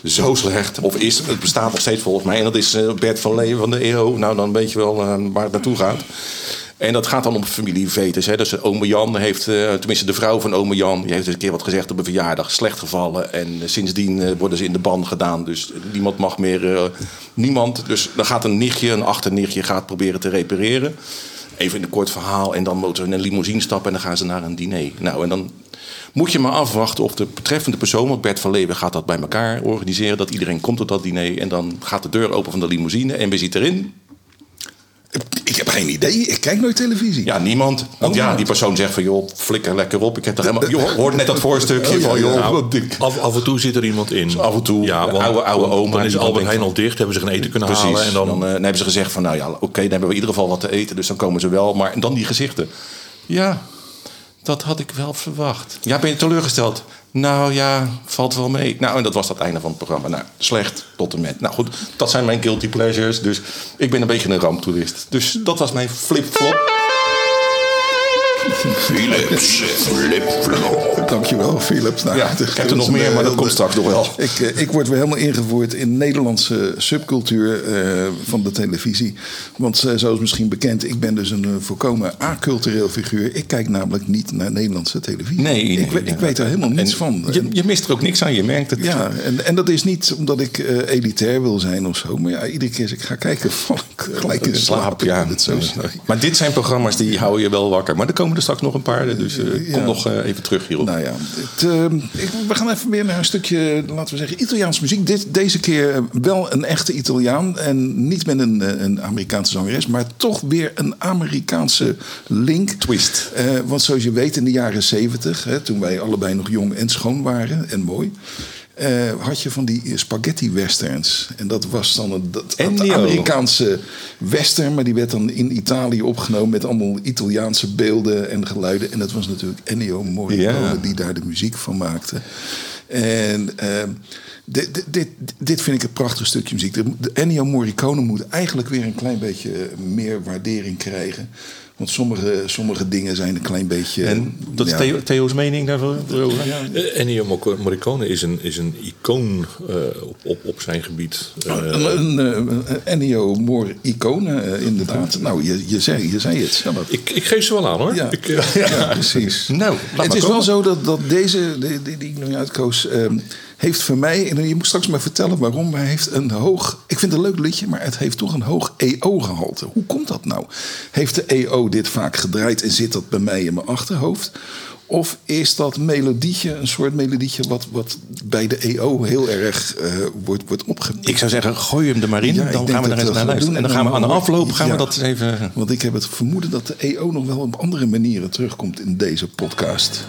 [SPEAKER 2] zo slecht. Of is, het bestaat nog steeds volgens mij. En dat is eh, Bert van Leeuwen van de EO. Nou, dan weet je wel eh, waar het naartoe gaat. En dat gaat dan om familievetes. Hè. Dus ome Jan heeft, eh, tenminste de vrouw van ome Jan... die heeft eens een keer wat gezegd op een verjaardag. Slecht gevallen. En eh, sindsdien eh, worden ze in de ban gedaan. Dus niemand mag meer... eh, niemand. Dus dan gaat een nichtje, een achternichtje... gaat proberen te repareren. Even in een kort verhaal. En dan moeten we in een limousine stappen... en dan gaan ze naar een diner. Nou, en dan moet je maar afwachten of de betreffende persoon... want Bert van Leeuwen gaat dat bij elkaar organiseren... dat iedereen komt op dat diner... en dan gaat de deur open van de limousine... en wie zit erin?
[SPEAKER 1] Ik heb geen idee. Ik kijk nooit televisie.
[SPEAKER 2] Ja, niemand. Want
[SPEAKER 1] Oh,
[SPEAKER 2] ja,
[SPEAKER 1] ja.
[SPEAKER 2] die persoon zegt van joh, flikker lekker op. Ik heb er helemaal. Joh, hoort net dat voorstukje
[SPEAKER 1] Oh, ja,
[SPEAKER 2] van
[SPEAKER 1] ja.
[SPEAKER 2] joh.
[SPEAKER 1] Nou,
[SPEAKER 2] wat dik.
[SPEAKER 3] Af, af en toe zit er iemand in.
[SPEAKER 2] Af en toe.
[SPEAKER 3] Ja,
[SPEAKER 2] De
[SPEAKER 3] want,
[SPEAKER 2] oude- oude
[SPEAKER 3] want
[SPEAKER 2] oma
[SPEAKER 3] Dan is
[SPEAKER 2] die dan
[SPEAKER 3] Albert
[SPEAKER 2] denkt
[SPEAKER 3] Heijn
[SPEAKER 2] van-
[SPEAKER 3] al dicht, hebben ze geen eten kunnen
[SPEAKER 2] Precies.
[SPEAKER 3] halen. En dan,
[SPEAKER 2] dan, eh, dan hebben ze gezegd van nou ja, oké, dan hebben we in ieder geval wat te eten, dus dan komen ze wel. Maar en dan die gezichten. Ja, dat had ik wel verwacht. Ja, ben je teleurgesteld? Nou ja, valt wel mee. Nou, en dat was dat einde van het programma. Nou, slecht tot en met. Nou goed, dat zijn mijn guilty pleasures. Dus ik ben een beetje een ramptoerist. Dus dat was mijn flip-flop.
[SPEAKER 1] Philips. Dankjewel, Philips. Nou,
[SPEAKER 2] Ja, ik heb er nog
[SPEAKER 1] is een,
[SPEAKER 2] meer, maar dat
[SPEAKER 1] eh,
[SPEAKER 2] komt straks nog wel.
[SPEAKER 1] Ik, eh, ik word weer helemaal ingevoerd in Nederlandse subcultuur eh, van de televisie. Want eh, zoals misschien bekend, ik ben dus een eh, volkomen acultureel figuur. Ik kijk namelijk niet naar Nederlandse televisie.
[SPEAKER 2] Nee, nee,
[SPEAKER 1] ik, we- ik
[SPEAKER 2] nee.
[SPEAKER 1] weet er helemaal niets
[SPEAKER 2] En
[SPEAKER 1] van.
[SPEAKER 2] Je,
[SPEAKER 1] En-
[SPEAKER 2] je mist er ook niks aan, je merkt het.
[SPEAKER 1] ja, en, en dat is niet omdat ik eh, elitair wil zijn of zo. Maar ja, iedere keer als ik ga kijken, val ik gelijk in slaap.
[SPEAKER 2] Slaap,
[SPEAKER 1] Ik
[SPEAKER 2] ja.
[SPEAKER 1] vind het zo sneu.
[SPEAKER 2] Maar dit zijn programma's die houden je wel wakker. Maar er komen er straks nog een paar, dus eh, kom
[SPEAKER 1] Ja.
[SPEAKER 2] nog eh, even terug hierop.
[SPEAKER 1] Nou ja, het, eh, ik- we gaan even weer naar een stukje, laten we zeggen, Italiaans muziek. Dit, deze keer eh, wel een echte Italiaan en niet met een, eh, een Amerikaanse zangeres, maar toch weer een Amerikaanse link.
[SPEAKER 2] Twist.
[SPEAKER 1] Eh, want zoals je weet, in de jaren zeventig, toen wij allebei nog jong en schoon waren en mooi. eh, had je van die eh, spaghetti westerns. En dat was dan een, dat, dat
[SPEAKER 2] Ennio.
[SPEAKER 1] Amerikaanse western. Maar die werd dan in Italië opgenomen met allemaal Italiaanse beelden en geluiden. En dat was natuurlijk Ennio Morricone
[SPEAKER 2] Ja.
[SPEAKER 1] die daar de muziek van maakte. En ehm, dit, dit- dit, dit vind ik een prachtig stukje muziek. De, de Ennio Morricone moet eigenlijk weer een klein beetje meer waardering krijgen. Want sommige, sommige dingen zijn een klein beetje...
[SPEAKER 2] en dat is
[SPEAKER 1] ja,
[SPEAKER 2] Theo- Theo's mening daarvoor? Ja.
[SPEAKER 3] Eh, Ennio Mor- Morricone is een, is een icoon eh, op, op, op zijn gebied. Eh,
[SPEAKER 1] Een, een, eh, Ennio Morricone, eh, inderdaad. Nou, je, je, zei, je zei het zelf.
[SPEAKER 3] ik, ik geef ze wel aan hoor.
[SPEAKER 1] Ja.
[SPEAKER 3] Ik, eh,
[SPEAKER 1] Ja, precies.
[SPEAKER 2] Nou, laat maar
[SPEAKER 1] het is
[SPEAKER 2] komen.
[SPEAKER 1] wel zo dat, dat deze, die, die, die ik nu uitkoos, ehm, heeft voor mij, en je moet straks maar vertellen waarom, maar hij heeft een hoog, ik vind het een leuk liedje, maar het heeft toch een hoog EO-gehalte. Hoe komt dat nou? Heeft de EO dit vaak gedraaid en zit dat bij mij in mijn achterhoofd? Of is dat melodietje, een soort melodietje, wat, wat bij de EO heel erg eh, wordt, wordt opgepikt?
[SPEAKER 2] Ik zou zeggen, gooi hem er maar in,
[SPEAKER 1] Ja, ik
[SPEAKER 2] dan
[SPEAKER 1] denk
[SPEAKER 2] gaan we
[SPEAKER 1] dat
[SPEAKER 2] er eens
[SPEAKER 1] we
[SPEAKER 2] naar
[SPEAKER 1] gaan
[SPEAKER 2] luisteren.
[SPEAKER 1] doen
[SPEAKER 2] En dan
[SPEAKER 1] en
[SPEAKER 2] gaan we
[SPEAKER 1] dan
[SPEAKER 2] aan de
[SPEAKER 1] hoor-
[SPEAKER 2] afloop gaan we
[SPEAKER 1] Ja.
[SPEAKER 2] dat eens even...
[SPEAKER 1] Want ik heb het vermoeden dat de EO nog wel op andere manieren terugkomt in deze podcast.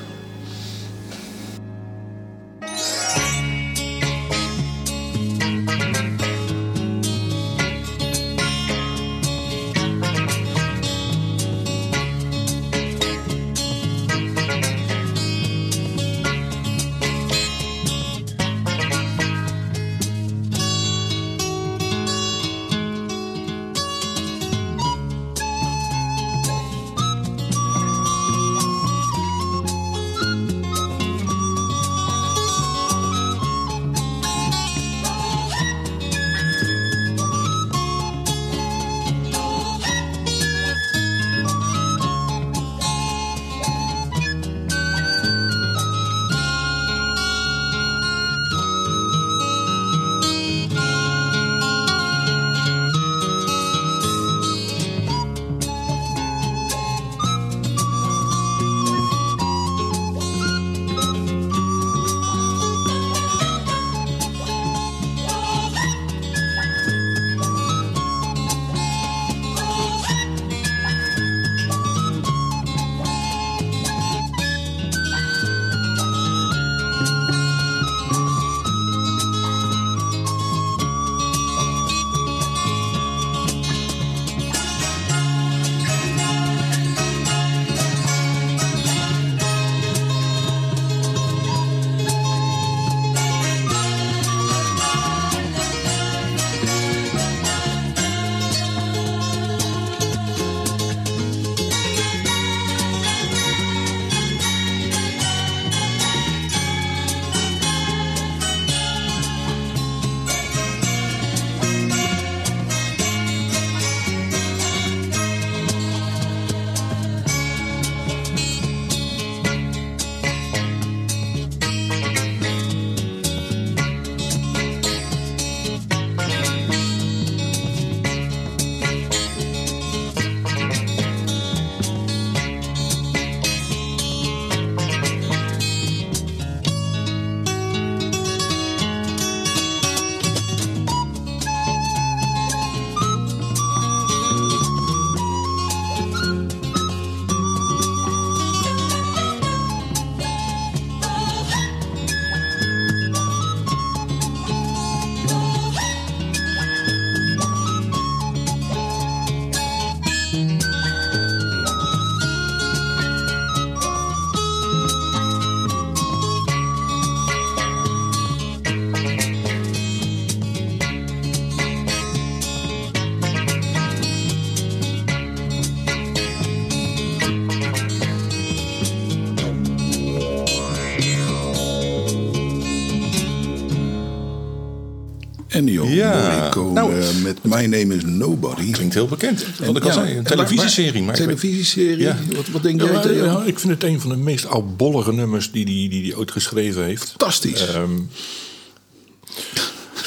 [SPEAKER 1] Ennio
[SPEAKER 2] Ja.
[SPEAKER 1] Morricone
[SPEAKER 2] Nou,
[SPEAKER 1] eh, met My Name is Nobody.
[SPEAKER 2] Klinkt heel bekend. Wat ik al
[SPEAKER 1] ja,
[SPEAKER 2] zei, een
[SPEAKER 1] en
[SPEAKER 2] televisieserie.
[SPEAKER 1] waar-
[SPEAKER 2] Maar ik weet-
[SPEAKER 1] televisieserie?
[SPEAKER 2] Ja.
[SPEAKER 1] Wat, wat denk
[SPEAKER 3] Ja,
[SPEAKER 1] jij,
[SPEAKER 3] maar,
[SPEAKER 1] Theo?
[SPEAKER 3] ja, ik vind het een van de meest oudbollige nummers die hij die, die, die ooit geschreven heeft.
[SPEAKER 1] Fantastisch.
[SPEAKER 3] Ehm,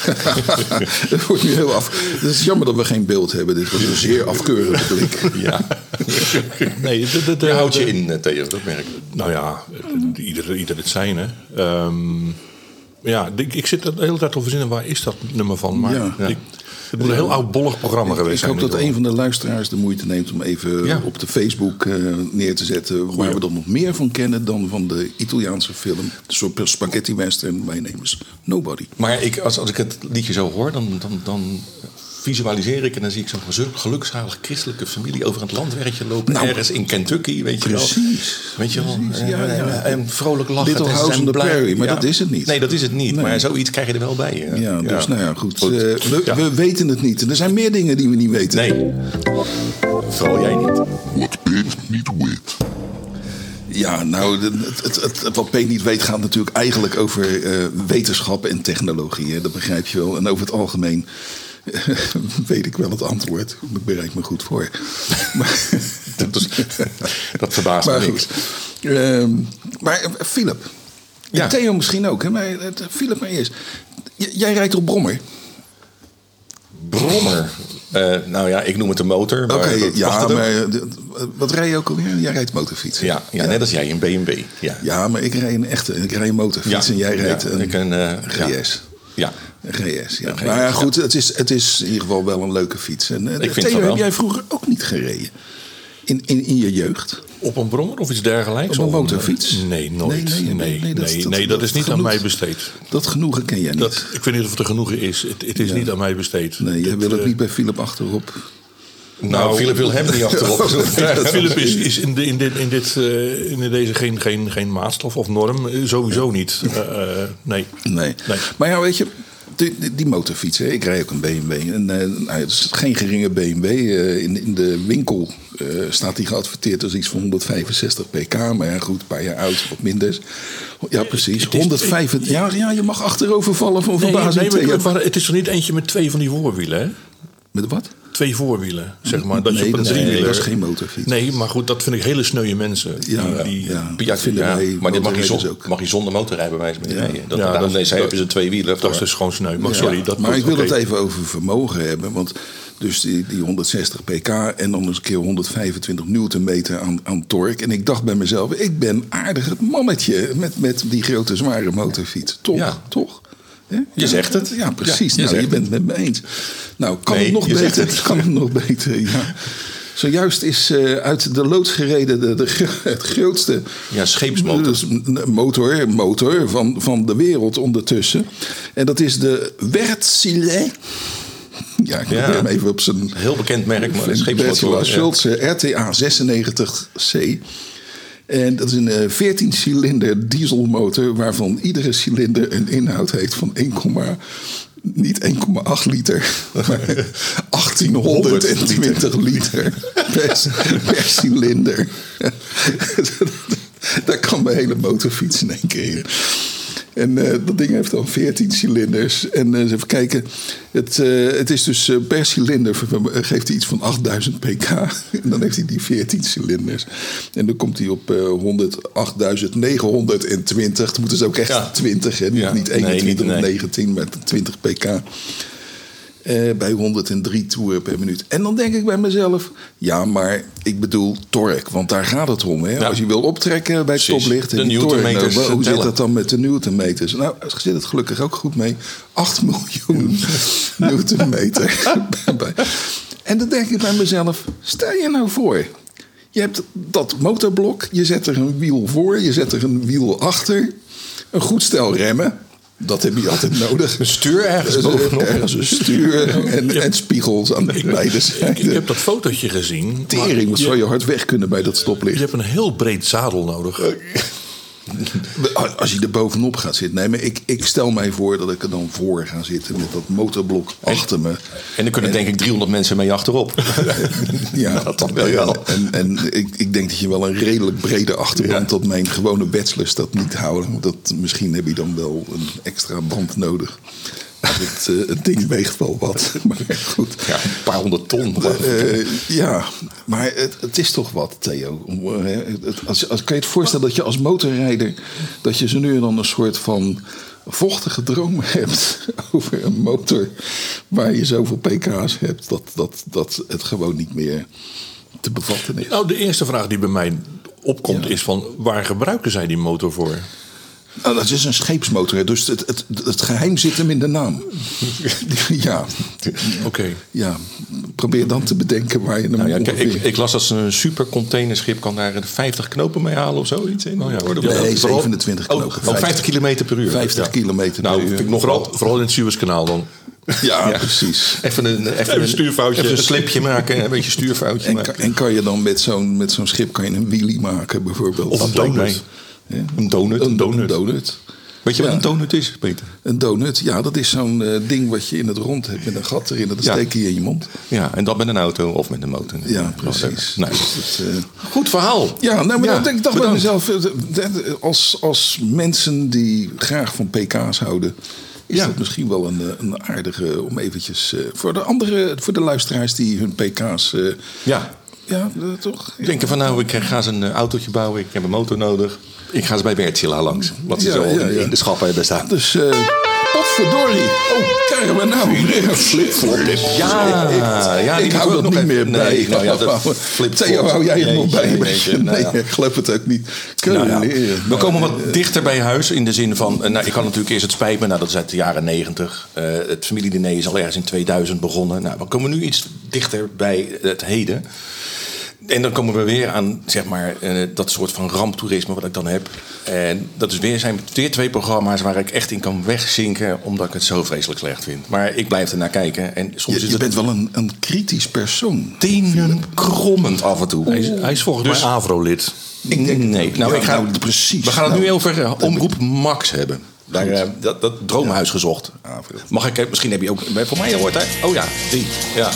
[SPEAKER 1] Het wordt nu heel af. Het is jammer dat we geen beeld hebben. Dit was een zeer afkeurige blik.
[SPEAKER 2] ja.
[SPEAKER 3] nee, de, de, de,
[SPEAKER 2] Je houdt je
[SPEAKER 3] de-
[SPEAKER 2] in, eh, Theo, dat merk ik.
[SPEAKER 3] Nou ja, het- ieder, ieder het zijn, hè. Ehm, ja, ik, ik zit er de hele tijd over zinnen, waar is dat nummer van? Maar
[SPEAKER 1] Ja.
[SPEAKER 3] ik, het moet een heel oudbollig programma geweest
[SPEAKER 1] Ik
[SPEAKER 3] zijn.
[SPEAKER 1] hoop dat
[SPEAKER 3] dit
[SPEAKER 1] een van de luisteraars de moeite neemt om even
[SPEAKER 3] Ja.
[SPEAKER 1] op de Facebook eh, neer te zetten. Waar we dan nog meer van kennen dan van de Italiaanse film. De soort spaghetti western. Wij nemen is Nobody.
[SPEAKER 2] Maar ik, als, als ik het liedje zo hoor, dan, dan, dan visualiseer ik en dan zie ik zo'n gezul- gelukszalige christelijke familie over het landwerkje lopen.
[SPEAKER 1] Nou,
[SPEAKER 2] ergens in Kentucky, weet je wel.
[SPEAKER 1] precies.
[SPEAKER 2] Weet je wel.
[SPEAKER 1] Precies, ja,
[SPEAKER 2] eh,
[SPEAKER 1] ja.
[SPEAKER 2] En vrolijk lachen.
[SPEAKER 1] Little
[SPEAKER 2] en ze
[SPEAKER 1] House
[SPEAKER 2] zijn
[SPEAKER 1] on the
[SPEAKER 2] blij.
[SPEAKER 1] Prairie, maar dat is het niet.
[SPEAKER 2] Nee, dat is het niet.
[SPEAKER 1] Nee.
[SPEAKER 2] Maar zoiets krijg je er wel bij. eh. hè.
[SPEAKER 1] Ja, dus nou ja, goed.
[SPEAKER 2] Goed.
[SPEAKER 1] Eh, we,
[SPEAKER 2] Ja.
[SPEAKER 1] we weten het niet. En er zijn meer dingen die we niet weten.
[SPEAKER 2] Nee, vooral jij niet.
[SPEAKER 1] Ja, nou, de- het, het, het, het wat Peet niet weet gaat natuurlijk eigenlijk over eh, wetenschap en technologie. Hè? Dat begrijp je wel. En over het algemeen weet ik wel het antwoord. Ik bereid me goed voor. Maar,
[SPEAKER 2] Dat, is- dat verbaast
[SPEAKER 1] maar
[SPEAKER 2] me niks.
[SPEAKER 1] goed. Ehm, maar eh, Philip.
[SPEAKER 2] Ja.
[SPEAKER 1] En Theo misschien ook. Hè? Maar het, eh, Philip maar eerst. J- jij rijdt op Brommer.
[SPEAKER 2] Brommer. Eh, nou ja, ik noem het een motor. maar
[SPEAKER 1] Oké,
[SPEAKER 2] dat mag
[SPEAKER 1] ja,
[SPEAKER 2] dat ook.
[SPEAKER 1] maar eh, de- wat rij je ook alweer? Jij rijdt motorfiets. hè?
[SPEAKER 2] Ja, ja, net als jij, een BMW. Ja,
[SPEAKER 1] Ja, maar ik rij een echte. Ik rij een motorfiets en jij rijdt
[SPEAKER 2] ja,
[SPEAKER 1] een,
[SPEAKER 2] ik een eh,
[SPEAKER 1] GS.
[SPEAKER 2] Ja.
[SPEAKER 1] Een GS, ja.
[SPEAKER 2] Een GS,
[SPEAKER 1] maar ja,
[SPEAKER 2] ja.
[SPEAKER 1] goed, het is, het is in ieder geval wel een leuke fiets. En, eh,
[SPEAKER 2] vind
[SPEAKER 1] Theo,
[SPEAKER 2] van wel.
[SPEAKER 1] heb jij vroeger ook niet gereden? In, in, in je jeugd?
[SPEAKER 3] Op een brommer of iets dergelijks?
[SPEAKER 1] Op een
[SPEAKER 3] Of
[SPEAKER 1] motorfiets?
[SPEAKER 3] Nee, nooit.
[SPEAKER 1] Nee,
[SPEAKER 3] Nee,
[SPEAKER 1] nee, nee,
[SPEAKER 3] nee,
[SPEAKER 1] nee, dat is- dat-
[SPEAKER 3] dat is
[SPEAKER 1] dat
[SPEAKER 3] niet aan
[SPEAKER 1] genoeg.
[SPEAKER 3] mij besteed.
[SPEAKER 1] Dat genoegen ken jij niet.
[SPEAKER 3] Dat, ik weet niet of het een genoegen is. Het, het is niet aan mij besteed.
[SPEAKER 1] nee, jij
[SPEAKER 3] Dit,
[SPEAKER 1] wil ook
[SPEAKER 3] eh,
[SPEAKER 1] niet bij Philip achterop.
[SPEAKER 2] Nou, Philip wil hem niet achterop.
[SPEAKER 3] Philip- Philip is, is in, de- in, dit, in, dit, eh, in deze geen, geen, geen maatstaf of norm. eh, Sowieso niet. Eh, eh, nee.
[SPEAKER 1] Nee.
[SPEAKER 3] Nee.
[SPEAKER 1] Maar ja, weet je, die, die, die motorfiets, hè, ik rij ook een BMW. En, eh, nou, het is geen geringe BMW. eh, in, in de winkel eh, staat die geadverteerd als iets van 165 pk. Maar ja, goed, een paar jaar oud, wat minder. Ja, precies.
[SPEAKER 3] Eh, Het is-
[SPEAKER 1] 105, ja, ja, je mag achterover vallen van
[SPEAKER 3] Nee,
[SPEAKER 1] verbazing.
[SPEAKER 3] nee, maar
[SPEAKER 1] Theo.
[SPEAKER 3] het- maar het is toch niet eentje met twee van die voorwielen, hè?
[SPEAKER 1] Met wat?
[SPEAKER 3] Twee voorwielen, zeg maar. Dat
[SPEAKER 1] nee,
[SPEAKER 3] je op een
[SPEAKER 1] dat is-
[SPEAKER 3] driewieler...
[SPEAKER 1] dat is geen motorfiets.
[SPEAKER 3] Nee, maar goed, dat vind ik hele sneuwe mensen.
[SPEAKER 1] Ja,
[SPEAKER 3] die, die-
[SPEAKER 1] ja.
[SPEAKER 2] Ja,
[SPEAKER 1] vinden
[SPEAKER 2] ja,
[SPEAKER 1] wij
[SPEAKER 2] maar dit mag je,
[SPEAKER 1] motorrijders
[SPEAKER 2] zonder,
[SPEAKER 1] ook.
[SPEAKER 2] mag je zonder motorrijbewijs mee rijden. Dat,
[SPEAKER 3] Ja,
[SPEAKER 2] ja,
[SPEAKER 3] dat
[SPEAKER 2] daarom
[SPEAKER 3] is-
[SPEAKER 2] nee, ze
[SPEAKER 3] dat-
[SPEAKER 2] hebben ze twee wielen.
[SPEAKER 3] Dat is dus gewoon sneu. Maar sorry,
[SPEAKER 1] Ja,
[SPEAKER 3] dat
[SPEAKER 1] maar
[SPEAKER 3] moet-
[SPEAKER 1] ik wil
[SPEAKER 3] oké.
[SPEAKER 1] het even over vermogen hebben. Want dus die, die 160 pk en dan eens een keer 125 newtonmeter aan, aan torque. En ik dacht bij mezelf, ik ben aardig het mannetje met, met die grote zware motorfiets. Toch?
[SPEAKER 2] Ja.
[SPEAKER 1] Toch? Hè?
[SPEAKER 2] Je
[SPEAKER 1] Ja,
[SPEAKER 2] zegt het.
[SPEAKER 1] Ja, precies.
[SPEAKER 2] Ja, je
[SPEAKER 1] nou, je
[SPEAKER 2] zegt
[SPEAKER 1] bent het met me eens. Nou, kan
[SPEAKER 2] Nee,
[SPEAKER 1] het nog
[SPEAKER 2] je zegt
[SPEAKER 1] beter?
[SPEAKER 2] het.
[SPEAKER 1] Kan het nog beter, ja. Zojuist is eh, uit de loods gereden de, de, gro- het grootste
[SPEAKER 2] Ja, scheepsmotor.
[SPEAKER 1] dus een motor, motor van, van de wereld ondertussen. En dat is de Wertzile. Ja, ik
[SPEAKER 2] Ja.
[SPEAKER 1] probeer hem even op zijn...
[SPEAKER 2] Heel bekend merk, maar scheepsmotor.
[SPEAKER 1] Bertila
[SPEAKER 2] ja.
[SPEAKER 1] Schultze RTA 96C. En dat is een eh, 14-cilinder dieselmotor... waarvan iedere cilinder een inhoud heeft van 1, niet 1,8 liter... maar 1820 liter per, per cilinder. Daar kan mijn hele motorfiets in één keer in. En eh, dat ding heeft dan 14 cilinders. En eh, eens even kijken. Het, eh, het is dus eh, per cilinder ver- geeft hij iets van 8000 pk. En dan heeft hij die 14 cilinders. En dan komt hij op eh 108.920. Het moet dus ook echt
[SPEAKER 2] Ja.
[SPEAKER 1] 20, hè?
[SPEAKER 2] Ja.
[SPEAKER 1] niet
[SPEAKER 2] Nee,
[SPEAKER 1] 21
[SPEAKER 2] niet-
[SPEAKER 1] of
[SPEAKER 2] nee.
[SPEAKER 1] 19, maar 20 pk. Eh, bij 103 toeren per minuut. En dan denk ik bij mezelf, ja, maar ik bedoel torque, want daar gaat het om. Hè? Als je wil optrekken bij het
[SPEAKER 2] Precies.
[SPEAKER 1] stoplicht en
[SPEAKER 2] De
[SPEAKER 1] die torque, nou,
[SPEAKER 2] newtonmeters, eh,
[SPEAKER 1] hoe zit
[SPEAKER 2] tellen.
[SPEAKER 1] dat dan met de newtonmeters? Nou, er zit het gelukkig ook goed mee. 8 miljoen newtonmeter. Bij- en dan denk ik bij mezelf, stel je nou voor... Je hebt dat motorblok, je zet er een wiel voor, je zet er een wiel achter. Een goed stel remmen, dat heb je altijd nodig.
[SPEAKER 2] Een stuur ergens
[SPEAKER 1] Dus, eh,
[SPEAKER 2] bovenop.
[SPEAKER 1] Ergens een stuur en, en spiegels aan beide
[SPEAKER 3] Ik, ik
[SPEAKER 1] zijden.
[SPEAKER 3] heb dat fotootje gezien. maar
[SPEAKER 1] Tering, wat zou
[SPEAKER 3] je,
[SPEAKER 1] je hard weg kunnen bij dat
[SPEAKER 3] je
[SPEAKER 1] stoplicht?
[SPEAKER 3] hebt een heel breed zadel nodig.
[SPEAKER 1] Eh, Als je er bovenop gaat zitten. Nee, maar ik, ik stel mij voor dat ik er dan voor ga zitten met dat motorblok achter me.
[SPEAKER 2] En er kunnen denk ik 300 mensen mee achterop.
[SPEAKER 1] Ja,
[SPEAKER 2] dat dan wel, ja.
[SPEAKER 1] En, en ik, ik denk dat je wel een redelijk brede achterwand dat mijn gewone bachelors dat niet houden. Want dat, misschien heb je dan wel een extra band nodig. Het, eh, het ding weegt wel wat. Maar goed.
[SPEAKER 2] Ja, een paar honderd ton.
[SPEAKER 1] Eh, ja, maar het, het is toch wat, Theo. Om, eh, het- als, als, kan je het voorstellen dat je als motorrijder... dat je ze nu en dan een soort van vochtige droom hebt... over een motor waar je zoveel pk's hebt... dat, dat, dat het gewoon niet meer te bevatten is.
[SPEAKER 3] Nou, de eerste vraag die bij mij opkomt is van... waar gebruiken zij die motor voor?
[SPEAKER 1] Nou, dat is een scheepsmotor, hè, dus het, het, het geheim zit hem in de naam. ja,
[SPEAKER 3] Oké.
[SPEAKER 1] ja, probeer dan te bedenken waar je hem
[SPEAKER 2] Nou ja, kijk, ik,
[SPEAKER 1] ongeveer...
[SPEAKER 2] ik las dat ze een supercontainerschip kan daar 50 knopen mee halen of zoiets. In.
[SPEAKER 3] Oh ja.
[SPEAKER 2] Worden we
[SPEAKER 1] Nee,
[SPEAKER 2] dat- vooral-
[SPEAKER 1] 27
[SPEAKER 2] Oh,
[SPEAKER 1] knopen.
[SPEAKER 2] Oh, 50, kilometer per uur.
[SPEAKER 1] 50
[SPEAKER 2] Ja.
[SPEAKER 1] kilometer
[SPEAKER 2] nou,
[SPEAKER 1] per uur.
[SPEAKER 2] Vind ik nog
[SPEAKER 3] Vooral,
[SPEAKER 2] wel.
[SPEAKER 3] vooral in het Suezkanaal dan.
[SPEAKER 1] ja, precies.
[SPEAKER 2] Even een, even
[SPEAKER 3] een stuurfoutje.
[SPEAKER 2] Even een slipje maken, hè, een beetje stuurfoutje
[SPEAKER 1] En,
[SPEAKER 2] maken.
[SPEAKER 1] kan- en kan je dan met zo'n, met zo'n schip kan je een wheelie maken bijvoorbeeld?
[SPEAKER 2] Of een
[SPEAKER 1] Dat lijkt
[SPEAKER 2] donut.
[SPEAKER 1] mij. Ja.
[SPEAKER 2] Een donut.
[SPEAKER 1] Een donut.
[SPEAKER 2] donut.
[SPEAKER 1] Een donut.
[SPEAKER 2] Weet je wat
[SPEAKER 1] Ja.
[SPEAKER 2] een donut is, Peter?
[SPEAKER 1] Een donut, ja, dat is zo'n eh, ding wat je in het rond hebt met een gat erin. Dat
[SPEAKER 2] Ja.
[SPEAKER 1] steek je in je mond.
[SPEAKER 2] Ja, en dat met een auto of met een motor.
[SPEAKER 1] Ja,
[SPEAKER 2] Wel leuk.
[SPEAKER 1] precies.
[SPEAKER 2] Nou,
[SPEAKER 1] Dat, eh,
[SPEAKER 2] goed verhaal.
[SPEAKER 1] Ja, nou, maar
[SPEAKER 2] Ja,
[SPEAKER 1] dan denk ik dacht bij
[SPEAKER 2] bedankt.
[SPEAKER 1] mezelf, eh, eh, als, als mensen die graag van PK's houden, is
[SPEAKER 2] Ja.
[SPEAKER 1] dat misschien wel een, eh, een aardige om eventjes eh, voor de andere, voor de luisteraars die hun PK's, eh,
[SPEAKER 2] Ja,
[SPEAKER 1] ja, eh, toch?
[SPEAKER 2] Ik Denk er van nou, ik ga eens een eh, autootje bouwen, ik heb een motor nodig. Ik ga eens bij Bertila langs, wat ze
[SPEAKER 1] Ja,
[SPEAKER 2] zo
[SPEAKER 1] ja,
[SPEAKER 2] in-
[SPEAKER 1] ja.
[SPEAKER 2] in de schappen hebben staan.
[SPEAKER 1] Dus, eh potverdorie, oh, krijgen we nou weer een flipflop?
[SPEAKER 2] Ja, ja, die
[SPEAKER 1] ik
[SPEAKER 2] moeten
[SPEAKER 1] hou
[SPEAKER 2] we ook
[SPEAKER 1] dat
[SPEAKER 2] nog
[SPEAKER 1] niet
[SPEAKER 2] even-
[SPEAKER 1] meer bij.
[SPEAKER 2] nee, nou ja, dat flip-
[SPEAKER 1] Theo, hou jij het nog
[SPEAKER 2] Jeetje,
[SPEAKER 1] bij?
[SPEAKER 2] jeetje,
[SPEAKER 1] nee,
[SPEAKER 2] nou ja.
[SPEAKER 1] ik geloof het ook niet.
[SPEAKER 2] Nou ja,
[SPEAKER 1] Leren.
[SPEAKER 2] we komen wat dichter bij huis in de zin van. eh, Nou, ik had natuurlijk eerst het spijt me, nou, dat is uit de jaren 90. Eh, het familiediner is al ergens in 2000 begonnen. Nou, we komen nu iets dichter bij het heden. En dan komen we weer aan zeg maar, eh, dat soort van ramptoerisme wat ik dan heb. En dat is weer, zijn weer twee programma's waar ik echt in kan wegzinken, omdat ik het zo vreselijk slecht vind. Maar ik blijf ernaar kijken. En soms
[SPEAKER 1] Je,
[SPEAKER 2] is
[SPEAKER 1] je
[SPEAKER 2] het
[SPEAKER 1] bent wel een, een kritisch persoon.
[SPEAKER 2] tenen krommend af en toe. Dus
[SPEAKER 3] Hij is, hij is volgens mij AVRO-lid.
[SPEAKER 2] Ik denk nee. Nou,
[SPEAKER 1] Ja,
[SPEAKER 2] ik ga,
[SPEAKER 1] nou, precies.
[SPEAKER 2] We gaan het
[SPEAKER 1] Nou,
[SPEAKER 2] nu over eh, Omroep Max hebben. Daar, eh, dat, dat droomhuis gezocht. Mag ik, eh, misschien heb je ook, eh, voor mij gehoord hè? Oh ja, die. Ja.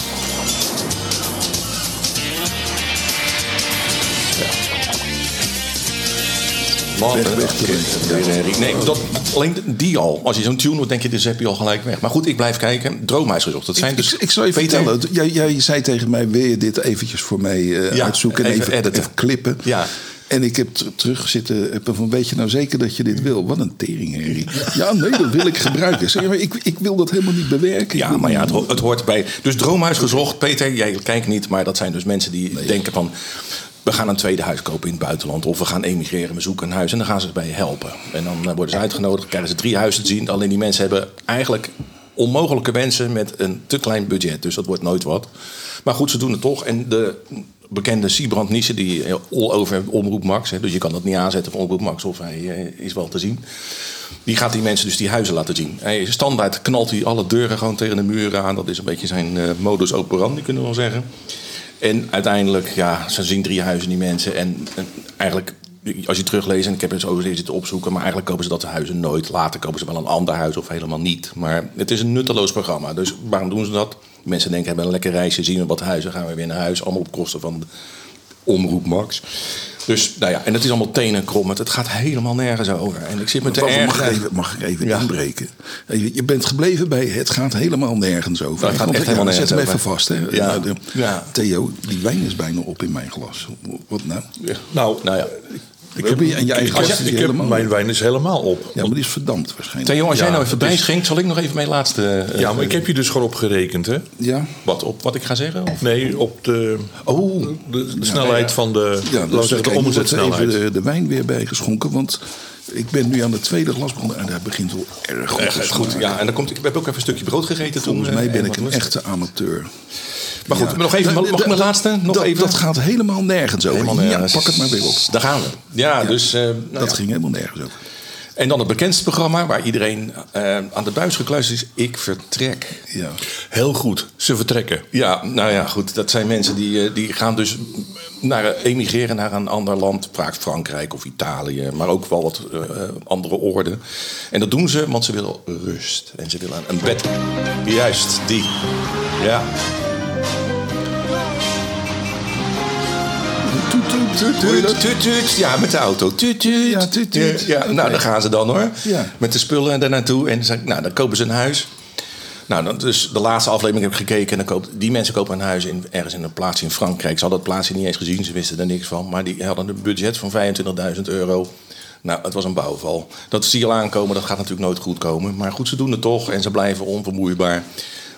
[SPEAKER 2] Man,
[SPEAKER 1] Weg,
[SPEAKER 2] eh,
[SPEAKER 1] weg,
[SPEAKER 2] oké.
[SPEAKER 1] terug.
[SPEAKER 2] Nee, nee, Nee, dat, alleen die al. Als je zo'n tune hoort, denk je, dus heb je al gelijk weg. Maar goed, ik blijf kijken. Droomhuis gezocht. Dat zijn
[SPEAKER 1] Ik,
[SPEAKER 2] dus
[SPEAKER 1] ik, ik zal je
[SPEAKER 2] Peter-
[SPEAKER 1] vertellen, het- jij, jij zei tegen mij, wil je dit eventjes voor mij eh,
[SPEAKER 2] Ja,
[SPEAKER 1] uitzoeken en
[SPEAKER 2] even
[SPEAKER 1] even,
[SPEAKER 2] editen.
[SPEAKER 1] even clippen?
[SPEAKER 2] Ja.
[SPEAKER 1] En ik heb ter- terug zitten, heb er van, weet je nou zeker dat je dit wil? Wat een tering, Henry. Ja, nee, dat wil ik gebruiken. Zeg, maar ik, ik wil dat helemaal niet bewerken. Ik
[SPEAKER 2] Ja,
[SPEAKER 1] wil
[SPEAKER 2] maar ja, het,
[SPEAKER 1] niet-
[SPEAKER 2] ho- het hoort bij. Dus Droomhuis gezocht. Peter, jij kijkt niet, maar dat zijn dus mensen die denken van... We gaan een tweede huis kopen in het buitenland. Of we gaan emigreren, we zoeken een huis. En dan gaan ze bij helpen. En dan eh, worden ze uitgenodigd, krijgen ze drie huizen te zien. Alleen die mensen hebben eigenlijk onmogelijke wensen met een te klein budget. Dus dat wordt nooit wat. Maar goed, ze doen het toch. En de bekende Siebrand Nissen, die eh, all over Omroep Max... Hè, dus je kan dat niet aanzetten van Omroep Max of hij eh, is wel te zien. Die gaat die mensen dus die huizen laten zien. Hij is standaard knalt hij alle deuren gewoon tegen de muren aan. Dat is een beetje zijn eh, modus operandi, kunnen we wel zeggen. En uiteindelijk, ja, ze zien drie huizen die mensen. En, en eigenlijk, als je terugleest, en ik heb het zo weer zitten opzoeken... maar eigenlijk kopen ze dat huizen nooit. Later kopen ze wel een ander huis of helemaal niet. Maar het is een nutteloos programma. Dus waarom doen ze dat? Mensen denken, hebben een lekker reisje, zien we wat huizen... gaan we weer naar huis, allemaal op kosten van Omroep Max. Dus, nou ja, en het is allemaal tenenkrommend. Het gaat helemaal nergens over. En ik zit me te
[SPEAKER 1] Wacht,
[SPEAKER 2] erg...
[SPEAKER 1] mag, ik even, mag ik even
[SPEAKER 2] Ja.
[SPEAKER 1] inbreken? Even, Je bent gebleven bij het gaat helemaal nergens over.
[SPEAKER 2] Dat Nou, gaat
[SPEAKER 1] Want
[SPEAKER 2] echt
[SPEAKER 1] ja,
[SPEAKER 2] helemaal
[SPEAKER 1] Zet hem
[SPEAKER 2] nergens
[SPEAKER 1] even
[SPEAKER 2] over.
[SPEAKER 1] vast. Hè.
[SPEAKER 2] Ja.
[SPEAKER 1] Nou, de-
[SPEAKER 2] Ja.
[SPEAKER 1] Theo, die wijn is bijna op in mijn glas. Wat nou?
[SPEAKER 3] Nou,
[SPEAKER 2] Nou ja.
[SPEAKER 1] Ik heb, en je eigen
[SPEAKER 2] als
[SPEAKER 1] glas
[SPEAKER 2] je-
[SPEAKER 1] is
[SPEAKER 3] ik heb,
[SPEAKER 1] helemaal...
[SPEAKER 3] mijn wijn is helemaal op.
[SPEAKER 1] Ja, maar die is verdampt waarschijnlijk.
[SPEAKER 2] Theo, als
[SPEAKER 3] Ja,
[SPEAKER 2] jij nou even
[SPEAKER 3] het
[SPEAKER 2] bij
[SPEAKER 3] is-
[SPEAKER 2] schenkt, zal ik nog even mijn laatste... eh,
[SPEAKER 3] Ja, maar ik heb je dus gewoon op gerekend, hè?
[SPEAKER 1] Ja?
[SPEAKER 2] Wat, op wat ik ga zeggen? Of?
[SPEAKER 3] Nee, op de,
[SPEAKER 2] Oh,
[SPEAKER 3] de, de snelheid van de,
[SPEAKER 1] Ja,
[SPEAKER 3] laten we
[SPEAKER 1] dus kijk,
[SPEAKER 3] zeggen, de
[SPEAKER 1] er wordt even
[SPEAKER 3] omzetsnelheid.
[SPEAKER 1] de, de wijn weer bijgeschonken. Want ik ben nu aan de tweede glas begonnen. En dat begint wel erg goed te
[SPEAKER 2] echt goed.
[SPEAKER 1] smaken.
[SPEAKER 2] Ja, en dan komt, ik heb ook even een stukje brood gegeten
[SPEAKER 1] Volgens
[SPEAKER 2] toen. eh,
[SPEAKER 1] mij ben
[SPEAKER 2] en
[SPEAKER 1] ik
[SPEAKER 2] wat
[SPEAKER 1] een
[SPEAKER 2] was het?
[SPEAKER 1] echte amateur.
[SPEAKER 2] Maar goed,
[SPEAKER 1] Ja.
[SPEAKER 2] nog even, mag,
[SPEAKER 1] Da-
[SPEAKER 2] mag ik mijn
[SPEAKER 1] da-
[SPEAKER 2] laatste? Nog
[SPEAKER 1] dat,
[SPEAKER 2] even?
[SPEAKER 1] Dat gaat helemaal nergens over.
[SPEAKER 2] Helemaal, eh,
[SPEAKER 1] ja, pak het maar weer op.
[SPEAKER 2] Daar gaan we. Ja, dus... eh, nou
[SPEAKER 1] dat
[SPEAKER 2] ja.
[SPEAKER 1] ging helemaal nergens over.
[SPEAKER 2] En dan het bekendste programma waar iedereen eh, aan de buis gekluisterd is. Ik vertrek.
[SPEAKER 1] Ja.
[SPEAKER 3] Heel goed, ze vertrekken.
[SPEAKER 2] Ja, nou ja, goed. Dat zijn mensen die, eh, die gaan dus naar, emigreren naar een ander land. Vaak Frankrijk of Italië, maar ook wel wat eh, andere orden. En dat doen ze, want ze willen rust. En ze willen een bed. Juist, die. Ja.
[SPEAKER 1] Toet, toet, toet,
[SPEAKER 2] Hoor je
[SPEAKER 1] toet.
[SPEAKER 2] dat? Tuut, tuut. Ja, met de auto. Tuut, tuut.
[SPEAKER 1] Ja, tuut, tuut.
[SPEAKER 2] Ja, nou,
[SPEAKER 1] Oké.
[SPEAKER 2] daar gaan ze dan hoor.
[SPEAKER 1] Ja.
[SPEAKER 2] Met de spullen daar naartoe. En ze- nou, dan kopen ze een huis. Nou, dan, dus de laatste aflevering heb ik gekeken. En dan koopt, die mensen kopen een huis in, ergens in een plaats in Frankrijk. Ze hadden het plaatsje niet eens gezien, ze wisten er niks van. Maar die hadden een budget van 25.000 euro. Nou, het was een bouwval. Dat zie je al aankomen, dat gaat natuurlijk nooit goed komen. Maar goed, ze doen het toch en ze blijven onvermoeibaar.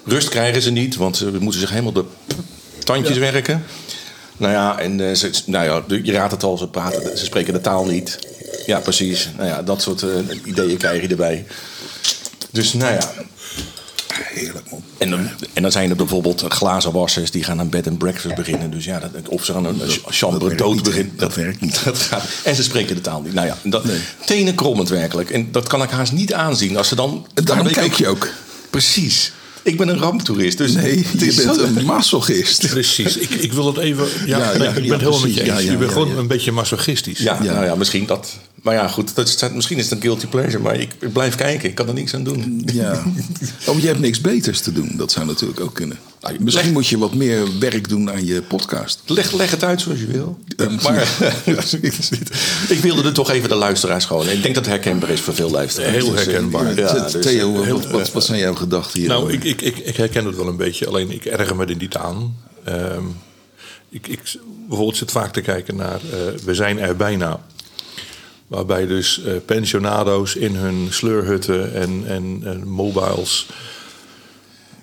[SPEAKER 2] Rust krijgen ze niet, want ze moeten zich helemaal de tandjes werken. Nou ja, en eh, ze, nou ja, de- je raadt het al, ze, praten, ze spreken de taal niet. Ja, precies. Nou ja, dat soort eh, ideeën krijg je erbij. Dus nou ja,
[SPEAKER 1] Heerlijk, man.
[SPEAKER 2] en dan, en dan zijn er bijvoorbeeld glazenwassers die gaan aan bed and breakfast beginnen. Dus ja, dat, of ze gaan een ch- chambre
[SPEAKER 1] werkt
[SPEAKER 2] dood
[SPEAKER 1] niet, hè?
[SPEAKER 2] beginnen.
[SPEAKER 1] Dat werkt niet.
[SPEAKER 2] Dat gaat, en ze spreken de taal niet. Nou ja, dat, tenenkrommend werkelijk. En dat kan ik haast niet aanzien. Als ze dan, daar
[SPEAKER 1] Daarom
[SPEAKER 2] weet ik
[SPEAKER 1] kijk je ook.
[SPEAKER 2] Precies. Ik ben een ramptoerist. Dus
[SPEAKER 1] Nee,
[SPEAKER 2] het
[SPEAKER 1] je
[SPEAKER 2] is
[SPEAKER 1] bent
[SPEAKER 2] zo-
[SPEAKER 1] een masochist.
[SPEAKER 3] Precies, ik, ik wil het even. Ja,
[SPEAKER 1] Ja,
[SPEAKER 3] nee,
[SPEAKER 1] ja,
[SPEAKER 3] ik ben
[SPEAKER 1] ja,
[SPEAKER 3] het helemaal met je
[SPEAKER 1] precies.
[SPEAKER 3] eens.
[SPEAKER 1] Ja, ja,
[SPEAKER 3] je bent
[SPEAKER 1] ja,
[SPEAKER 3] gewoon
[SPEAKER 1] ja.
[SPEAKER 3] een beetje masochistisch.
[SPEAKER 2] Ja,
[SPEAKER 1] Ja.
[SPEAKER 2] nou ja, misschien dat. Maar ja, goed. Dat, is- misschien is het een guilty pleasure. Maar ik, ik blijf kijken. Ik kan er niks aan doen.
[SPEAKER 1] Ja. Oh, je hebt niks beters te doen. Dat zou natuurlijk ook kunnen.
[SPEAKER 2] Nou,
[SPEAKER 1] Misschien
[SPEAKER 2] leg-
[SPEAKER 1] moet je wat meer werk doen aan je podcast.
[SPEAKER 2] Leg, leg het uit zoals je wil.
[SPEAKER 1] Ja,
[SPEAKER 2] maar ik wilde er toch even de luisteraars gewoon. Ik denk dat het herkenbaar is voor veel luisteraars.
[SPEAKER 3] Heel
[SPEAKER 2] Dus, eh,
[SPEAKER 3] herkenbaar.
[SPEAKER 2] Ja,
[SPEAKER 1] Th-
[SPEAKER 2] dus,
[SPEAKER 1] Theo,
[SPEAKER 2] eh, heel-
[SPEAKER 1] wat, wat, wat zijn jouw gedachten hier?
[SPEAKER 3] Nou, ik, ik, ik, ik herken het wel een beetje, alleen ik erger me er niet aan. Ehm, ik, ik bijvoorbeeld zit vaak te kijken naar eh, We zijn er bijna. Waarbij dus eh, pensionado's in hun sleurhutten en, en, en mobiles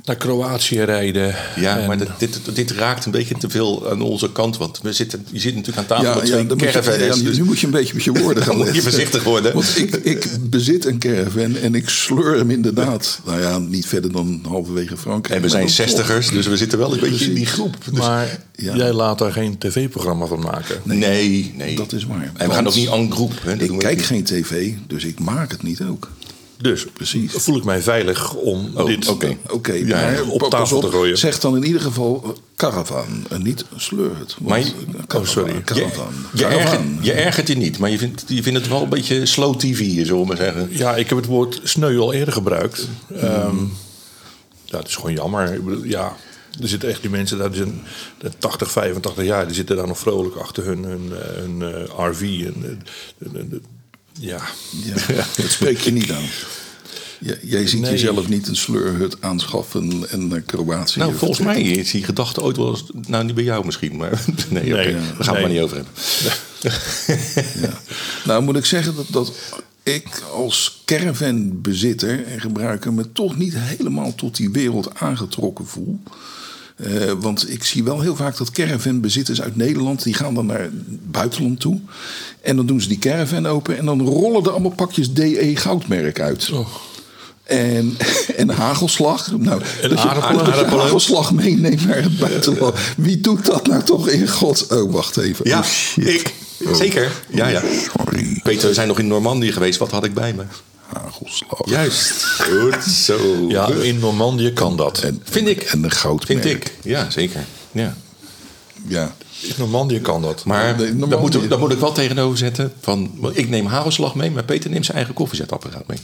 [SPEAKER 3] naar Kroatië rijden.
[SPEAKER 2] ja,
[SPEAKER 3] En-
[SPEAKER 2] maar dit, dit, dit raakt een beetje te veel aan onze kant. Want we zitten, je zit natuurlijk aan tafel
[SPEAKER 1] ja,
[SPEAKER 2] met
[SPEAKER 1] ja,
[SPEAKER 2] twee
[SPEAKER 1] dan moet je,
[SPEAKER 2] caravanners.
[SPEAKER 1] ja,
[SPEAKER 2] dus-
[SPEAKER 1] nu moet je een beetje met je woorden gaan
[SPEAKER 2] Dan moet je
[SPEAKER 1] letten.
[SPEAKER 2] voorzichtig worden.
[SPEAKER 1] Want ik, ik bezit een caravan en ik sleur hem inderdaad. Nou ja, niet verder dan halverwege Frankrijk.
[SPEAKER 2] en we
[SPEAKER 1] maar
[SPEAKER 2] zijn
[SPEAKER 1] dan toch.
[SPEAKER 2] zestigers, dus we zitten wel een beetje in die groep. Dus-
[SPEAKER 3] maar
[SPEAKER 1] ja.
[SPEAKER 3] jij laat daar geen tv-programma van maken.
[SPEAKER 2] nee, nee.
[SPEAKER 1] Dat is waar.
[SPEAKER 2] En
[SPEAKER 1] Want-
[SPEAKER 2] we gaan ook niet en groep. Hè? Dat doen
[SPEAKER 1] Ik
[SPEAKER 2] we
[SPEAKER 1] kijk
[SPEAKER 2] niet.
[SPEAKER 1] geen tv, dus ik maak het niet ook.
[SPEAKER 3] Dus
[SPEAKER 1] Precies.
[SPEAKER 3] voel ik mij veilig om
[SPEAKER 2] Oh,
[SPEAKER 3] dit...
[SPEAKER 2] oké.
[SPEAKER 1] Oké,
[SPEAKER 3] Ja,
[SPEAKER 1] maar
[SPEAKER 3] op
[SPEAKER 1] pas
[SPEAKER 3] tafel te gooien.
[SPEAKER 1] Zeg dan in ieder geval eh, caravan en niet slurred.
[SPEAKER 2] Maar je-
[SPEAKER 1] eh, caravan,
[SPEAKER 3] oh, sorry.
[SPEAKER 2] Je,
[SPEAKER 1] Caravan.
[SPEAKER 2] je, ergert,
[SPEAKER 1] Caravan.
[SPEAKER 2] je ergert je niet, maar je vindt, je vindt het wel een beetje slow TV, zullen we maar zeggen.
[SPEAKER 3] Ja, ik heb het woord sneu al eerder gebruikt. Ehm, ja, het is gewoon jammer. Ik bedoel, ja, er zitten echt die mensen, daar, die zijn eh, 80, 85 jaar, die zitten daar nog vrolijk achter hun, hun, eh, hun, eh, RV. En, eh, en, eh, ja.
[SPEAKER 1] Ja, dat spreek je niet aan. J- jij ziet
[SPEAKER 3] Nee.
[SPEAKER 1] jezelf niet een sleurhut aanschaffen en naar Kroatië.
[SPEAKER 2] Nou, volgens mij
[SPEAKER 1] vertrekken.
[SPEAKER 2] is die gedachte ooit wel eens... Nou, niet bij jou misschien, maar... Nee, oké, daar
[SPEAKER 3] Nee,
[SPEAKER 2] gaan we
[SPEAKER 3] nee.
[SPEAKER 2] het maar niet over hebben.
[SPEAKER 1] Ja. Nou, moet ik zeggen dat, dat ik als caravanbezitter en gebruiker me toch niet helemaal tot die wereld aangetrokken voel. Eh, want ik zie wel heel vaak dat caravanbezitters uit Nederland... die gaan dan naar het buitenland toe. En dan doen ze die caravan open... en dan rollen er allemaal pakjes DE Goudmerk uit.
[SPEAKER 2] Oh.
[SPEAKER 1] En, en hagelslag. Nou, dat je-
[SPEAKER 3] aardappelen.
[SPEAKER 1] dat je
[SPEAKER 3] Aardappelen.
[SPEAKER 1] hagelslag meeneemt naar het buitenland. Wie doet dat nou toch in gods... Oh, wacht even.
[SPEAKER 2] Ja,
[SPEAKER 1] Oh, shit.
[SPEAKER 2] ik.
[SPEAKER 1] Oh,
[SPEAKER 2] Zeker. Ja, ja.
[SPEAKER 1] Sorry.
[SPEAKER 2] Peter, we zijn nog in Normandië geweest. Wat had ik bij me?
[SPEAKER 1] Hagelslag.
[SPEAKER 2] Juist. Goed zo.
[SPEAKER 3] ja, in Normandië kan dat.
[SPEAKER 2] Vind ik.
[SPEAKER 1] En de goudmerk.
[SPEAKER 2] Vind ik. Ja, zeker. Ja.
[SPEAKER 1] Ja.
[SPEAKER 3] in Normandië kan dat.
[SPEAKER 2] Maar
[SPEAKER 1] Nee, normaal
[SPEAKER 2] dat, moet,
[SPEAKER 1] niet.
[SPEAKER 2] dat moet ik wel tegenover zetten. Van, want ik neem hagelslag mee, maar Peter neemt zijn eigen koffiezetapparaat mee.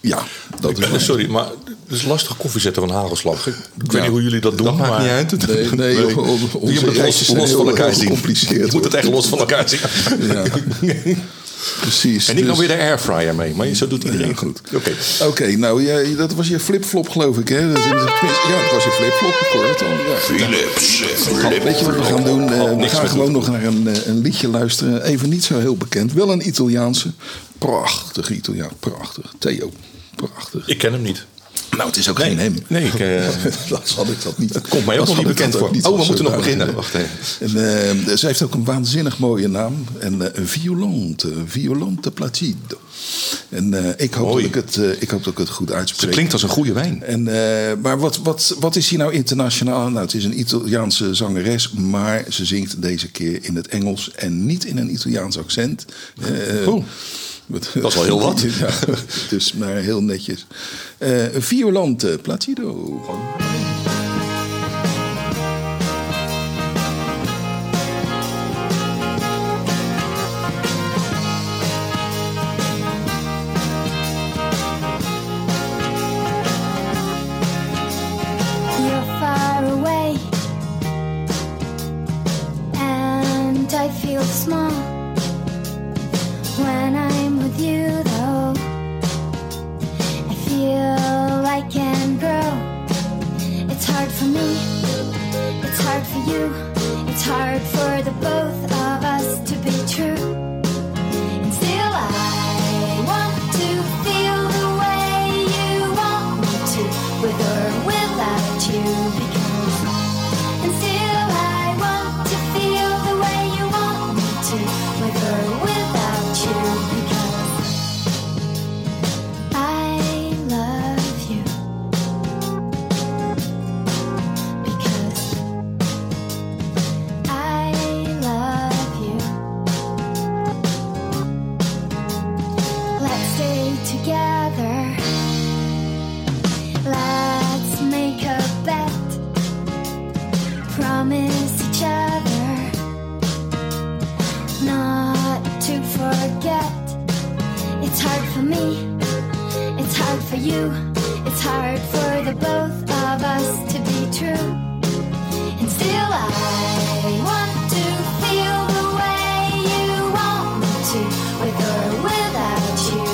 [SPEAKER 1] Ja, dat is
[SPEAKER 3] Eh,
[SPEAKER 1] waar.
[SPEAKER 3] Sorry, maar het is lastig koffie zetten van hagelslag. Ik, ik
[SPEAKER 1] Ja.
[SPEAKER 3] weet niet hoe jullie dat doen,
[SPEAKER 2] Dat maakt
[SPEAKER 3] maar
[SPEAKER 2] niet uit.
[SPEAKER 1] Nee, nee, joh, onze
[SPEAKER 2] Je moet het
[SPEAKER 1] reisjes
[SPEAKER 2] los,
[SPEAKER 1] zijn
[SPEAKER 2] los
[SPEAKER 1] heel
[SPEAKER 2] van
[SPEAKER 1] erg
[SPEAKER 2] elkaar zien.
[SPEAKER 1] gecompliceerd,
[SPEAKER 2] Je moet het
[SPEAKER 1] hoor.
[SPEAKER 2] echt los van elkaar zien.
[SPEAKER 1] Ja. Precies.
[SPEAKER 2] En ik
[SPEAKER 1] dus-
[SPEAKER 2] nam weer de airfryer mee, maar zo doet iedereen
[SPEAKER 1] Ja,
[SPEAKER 2] goed.
[SPEAKER 1] goed.
[SPEAKER 2] Oké.
[SPEAKER 1] Oké, nou, jij, dat was je flipflop, geloof ik, hè? Dat, tenminste, ja, dat was je flipflop, ik hoor het al. Ja. Philips. Weet je wat we gaan doen? Eh,
[SPEAKER 2] Had
[SPEAKER 1] we
[SPEAKER 2] Oh, niks
[SPEAKER 1] gaan
[SPEAKER 2] met
[SPEAKER 1] gewoon nog naar een, eh, een liedje luisteren. Even niet zo heel bekend. Wel een Italiaanse. Prachtig Italiaan. Prachtig. Theo. Prachtig.
[SPEAKER 3] ik ken hem niet.
[SPEAKER 1] nou, het is ook geen hem.
[SPEAKER 2] Nee, ik, eh,
[SPEAKER 1] dat had ik dat niet. Het
[SPEAKER 2] komt mij ook nog niet bekend voor. Oh, we moeten nog beginnen. Wacht
[SPEAKER 1] eh, En, eh, ze heeft ook een waanzinnig mooie naam. En, eh, een violante, een violante placido. En eh, ik, hoop dat
[SPEAKER 2] Mooi.
[SPEAKER 1] ik, het, eh, ik hoop dat ik het goed uitspreek.
[SPEAKER 2] ze klinkt als een goede wijn.
[SPEAKER 1] En, eh, maar wat, wat, wat is hier nou internationaal? Nou, het is een Italiaanse zangeres, maar ze zingt deze keer in het Engels en niet in een Italiaans accent. Eh,
[SPEAKER 2] Oh,
[SPEAKER 1] wat-
[SPEAKER 2] dat is wel heel wat.
[SPEAKER 1] Ja, dus maar heel netjes. Eh, violante Placido.
[SPEAKER 8] You're far away, and I feel small when I'm with you, though. I feel I can grow the both of us to be true. And still I want to feel the way you want me to, with or without you.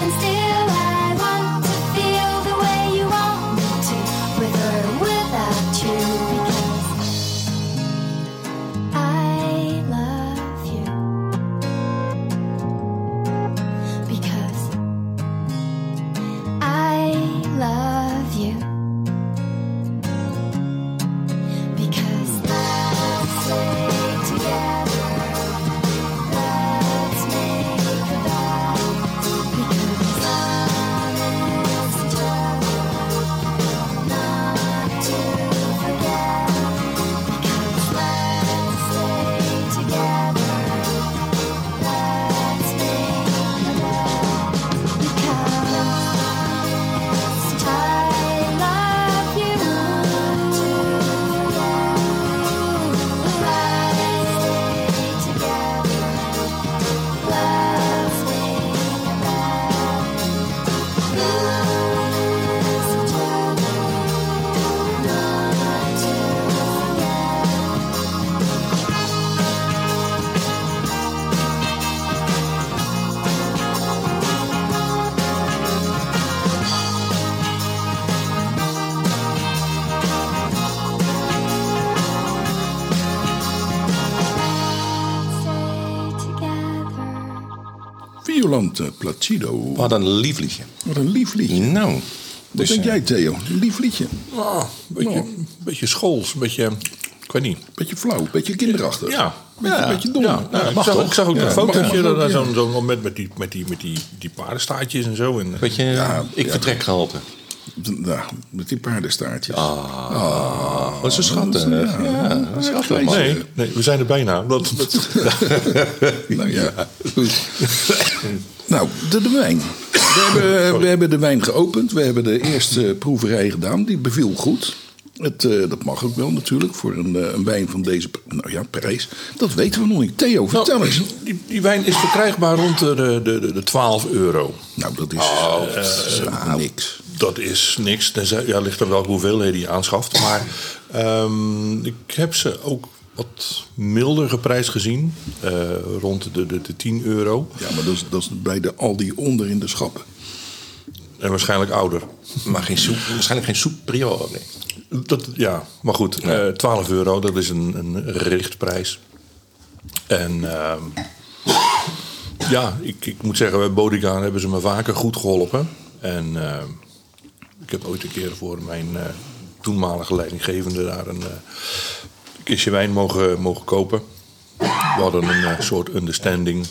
[SPEAKER 8] Because and still I want to feel the way you want me to, with or without you. Because I love you. Because I love you. Because let's stay together. Let's make a vow. Because promise each other not to forget. Because let's stay together. Let's make a vow. Because I love you. Let's stay together. Let's make a vow. Promise each other not to forget. Stay together.
[SPEAKER 1] Violante Placido.
[SPEAKER 2] Wat een lief liedje.
[SPEAKER 1] Wat een lief liedje.
[SPEAKER 2] Nou,
[SPEAKER 1] Wat
[SPEAKER 2] dus,
[SPEAKER 1] denk
[SPEAKER 2] eh,
[SPEAKER 1] jij, Theo? Lief liedje.
[SPEAKER 3] Ah, een beetje, een beetje schools, een beetje... Ik weet niet.
[SPEAKER 1] Beetje flauw, beetje kinderachtig.
[SPEAKER 3] Ja.
[SPEAKER 1] Beetje,
[SPEAKER 2] Ja.
[SPEAKER 1] beetje dom.
[SPEAKER 3] Ja,
[SPEAKER 1] Ja,
[SPEAKER 3] nou,
[SPEAKER 1] dat
[SPEAKER 3] ik, zag,
[SPEAKER 1] toch?
[SPEAKER 3] ik zag ook
[SPEAKER 1] Ja,
[SPEAKER 3] dat
[SPEAKER 1] mag
[SPEAKER 3] fotootje,
[SPEAKER 1] toch?
[SPEAKER 3] dat- dat
[SPEAKER 1] Ja.
[SPEAKER 3] zo'n zo'n moment met die, met die, met die, die paardenstaartjes en zo. En, eh,
[SPEAKER 2] eh, Weet je,
[SPEAKER 1] Ja,
[SPEAKER 2] ik
[SPEAKER 1] ja.
[SPEAKER 2] vertrek geholpen.
[SPEAKER 1] Nou, met die paardenstaartjes.
[SPEAKER 3] Ah. Oh,
[SPEAKER 2] Wat ze schatten.
[SPEAKER 1] dat is-
[SPEAKER 2] Ja,
[SPEAKER 1] ja.
[SPEAKER 2] ja, een schat, man.
[SPEAKER 3] nee, nee, we zijn er bijna. Dat, dat,
[SPEAKER 1] Nou ja, goed. nou, de, de wijn. We hebben, we hebben de wijn geopend. We hebben de eerste proeverij gedaan. Die beviel goed. Het, eh, dat mag ook wel natuurlijk voor een, eh, een wijn van deze nou ja, prijs. Dat weten we nog niet. Theo, vertel
[SPEAKER 3] Nou,
[SPEAKER 1] eens.
[SPEAKER 3] Die, die wijn is verkrijgbaar rond de, de, de, de 12 euro.
[SPEAKER 1] Nou, dat is
[SPEAKER 3] Oh,
[SPEAKER 1] eh, eh, niks.
[SPEAKER 3] Dat is niks. Tenzij, ja, ligt er wel hoeveelheden je aanschaft. Maar ehm, ik heb ze ook wat milder geprijsd gezien. eh, rond de, de, de 10 euro.
[SPEAKER 1] Ja, maar dat is, dat is bij de Aldi onder in de schappen.
[SPEAKER 3] En waarschijnlijk ouder.
[SPEAKER 2] Maar geen soep, waarschijnlijk geen superior. Nee.
[SPEAKER 3] Dat, ja, maar goed. eh 12 euro, dat is een, een richtprijs. En ehm, ja, ik, ik moet zeggen, bij Bodegaan hebben ze me vaker goed geholpen. En ehm, ik heb ooit een keer voor mijn eh, toenmalige leidinggevende daar een eh, kistje wijn mogen, mogen kopen. We hadden een eh, soort understanding.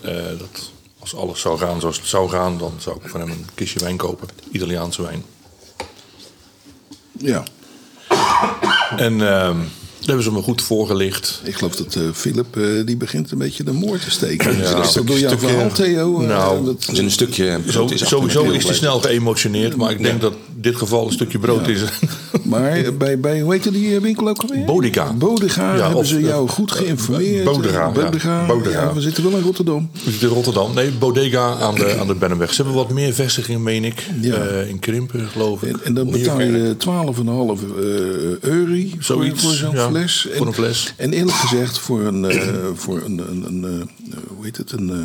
[SPEAKER 3] eh, dat als alles zou gaan zoals het zou gaan, dan zou ik van hem een kistje wijn kopen. Italiaanse wijn.
[SPEAKER 1] Ja,
[SPEAKER 3] En ehm daar hebben ze me goed voorgelicht.
[SPEAKER 1] ik geloof dat eh, Philip eh, die begint een beetje de moord te steken.
[SPEAKER 3] Ja.
[SPEAKER 1] dat is dat
[SPEAKER 3] Stuk-
[SPEAKER 1] door jouw
[SPEAKER 3] stukje-
[SPEAKER 1] verhaal, Theo? Eh,
[SPEAKER 3] Nou,
[SPEAKER 1] dat,
[SPEAKER 2] Dus in een stukje.
[SPEAKER 3] Zo,
[SPEAKER 2] het
[SPEAKER 3] sowieso is hij
[SPEAKER 2] afgelopen.
[SPEAKER 3] snel geëmotioneerd, maar ik denk dat dit geval een stukje brood is.
[SPEAKER 1] Maar bij, bij, hoe heette die eh, winkel ook alweer?
[SPEAKER 3] Bodega.
[SPEAKER 1] Bodega
[SPEAKER 3] Ja,
[SPEAKER 1] hebben
[SPEAKER 3] of,
[SPEAKER 1] ze
[SPEAKER 3] eh,
[SPEAKER 1] jou goed geïnformeerd.
[SPEAKER 3] Bodega, ja.
[SPEAKER 1] Bodega.
[SPEAKER 3] Bodega.
[SPEAKER 1] Ja, we zitten wel in Rotterdam.
[SPEAKER 3] in Rotterdam, nee, Bodega aan de, aan de Bennenweg. Ze hebben wat meer vestigingen, meen ik.
[SPEAKER 1] Ja.
[SPEAKER 3] Eh, in Krimpen, geloof ik.
[SPEAKER 1] En, en dan betaal je 12,5 eh euro voor,
[SPEAKER 3] Zoiets,
[SPEAKER 1] voor zo'n
[SPEAKER 3] ja,
[SPEAKER 1] fles. En,
[SPEAKER 3] voor een fles.
[SPEAKER 1] En eerlijk gezegd voor een, eh, voor een, een, een, eh, hoe heet het, een eh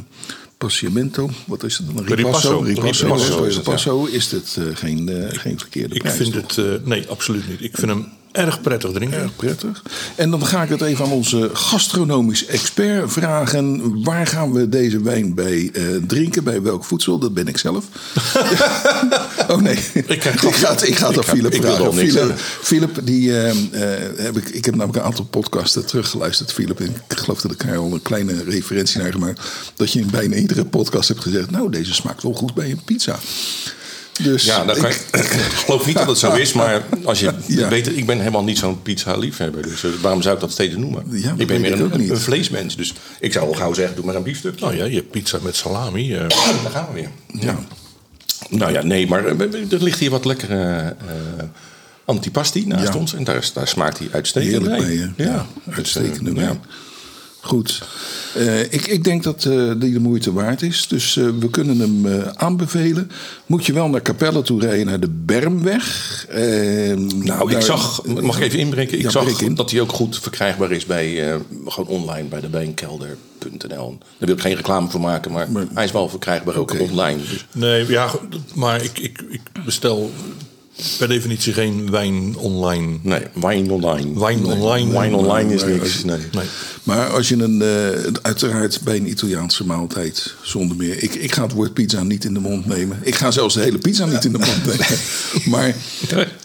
[SPEAKER 1] passamento. Wat is het dan? Een
[SPEAKER 3] Ripasso.
[SPEAKER 1] Ripasso, Ripasso,
[SPEAKER 3] Ripasso is het, ja.
[SPEAKER 1] Ripasso is dit eh, geen, eh, geen verkeerde
[SPEAKER 3] Ik
[SPEAKER 1] prijs.
[SPEAKER 3] vind
[SPEAKER 1] toch?
[SPEAKER 3] het, eh, nee, absoluut niet. Ik vind hem erg prettig drinken.
[SPEAKER 1] Erg prettig. En dan ga ik het even aan onze gastronomisch expert vragen. Waar gaan we deze wijn bij eh, drinken? Bij welk voedsel? Dat ben ik zelf. oh nee. Ik,
[SPEAKER 3] krijg
[SPEAKER 1] ga het, ik ga het aan
[SPEAKER 2] ga-
[SPEAKER 1] Philip
[SPEAKER 2] ik wil
[SPEAKER 1] vragen.
[SPEAKER 2] nog niks
[SPEAKER 1] Philip,
[SPEAKER 2] zeggen.
[SPEAKER 1] Philip, die, eh, eh, heb ik, ik heb namelijk een aantal podcasten teruggeluisterd, Philip. En ik geloof dat ik daar al een kleine referentie naar gemaakt. Dat je in bijna iedere podcast hebt gezegd... nou, deze smaakt wel goed bij een pizza. Dus
[SPEAKER 2] Ja, dat kan,
[SPEAKER 1] ik-
[SPEAKER 2] ik geloof niet dat het zo is, maar als je
[SPEAKER 1] Ja.
[SPEAKER 2] weet, ik ben helemaal niet zo'n pizza-liefhebber. Dus eh, waarom zou ik dat steeds noemen?
[SPEAKER 1] Ja, dat
[SPEAKER 2] ik ben
[SPEAKER 1] weet
[SPEAKER 2] meer
[SPEAKER 1] ik
[SPEAKER 2] een,
[SPEAKER 1] ook niet.
[SPEAKER 2] een vleesmens, dus ik zou al gauw zeggen, doe maar een biefstuk.
[SPEAKER 3] Nou ja, je hebt pizza met salami. eh.
[SPEAKER 2] daar gaan we weer.
[SPEAKER 1] ja.
[SPEAKER 2] Nou ja, nee, maar eh, er ligt hier wat lekkere eh, antipasti naast
[SPEAKER 1] Ja.
[SPEAKER 2] ons. En daar, daar smaakt hij uitstekend
[SPEAKER 1] Heerlijk
[SPEAKER 2] bij.
[SPEAKER 1] mee, hè?
[SPEAKER 2] Ja,
[SPEAKER 1] Ja, uitstekende
[SPEAKER 2] Dus, eh,
[SPEAKER 1] wijn. Goed. Eh, ik, ik denk dat eh, die de moeite waard is. Dus eh, we kunnen hem eh, aanbevelen. Moet je wel naar Capelle toe rijden, naar de Bermweg. Ehm,
[SPEAKER 2] Nou, ik zag, mag ik even inbreken? Ik
[SPEAKER 1] Ja, breek
[SPEAKER 2] zag
[SPEAKER 1] in.
[SPEAKER 2] dat die ook goed verkrijgbaar is bij, eh, gewoon online bij de wijnkelder.nl. Daar wil ik geen reclame voor maken, maar, hij is wel verkrijgbaar ook
[SPEAKER 1] Oké.
[SPEAKER 2] online. Dus
[SPEAKER 3] Nee, ja, goed, maar ik, ik, ik bestel per definitie geen wijn online.
[SPEAKER 2] nee, wijn online.
[SPEAKER 3] Wijn online.
[SPEAKER 2] Wijn online is
[SPEAKER 1] Nee,
[SPEAKER 2] niks. Nee.
[SPEAKER 3] Nee.
[SPEAKER 1] Maar als je een, eh, uiteraard bij een Italiaanse maaltijd, zonder meer. Ik, ik ga het woord pizza niet in de mond nemen. Ik ga zelfs de hele pizza niet in de mond nemen. Maar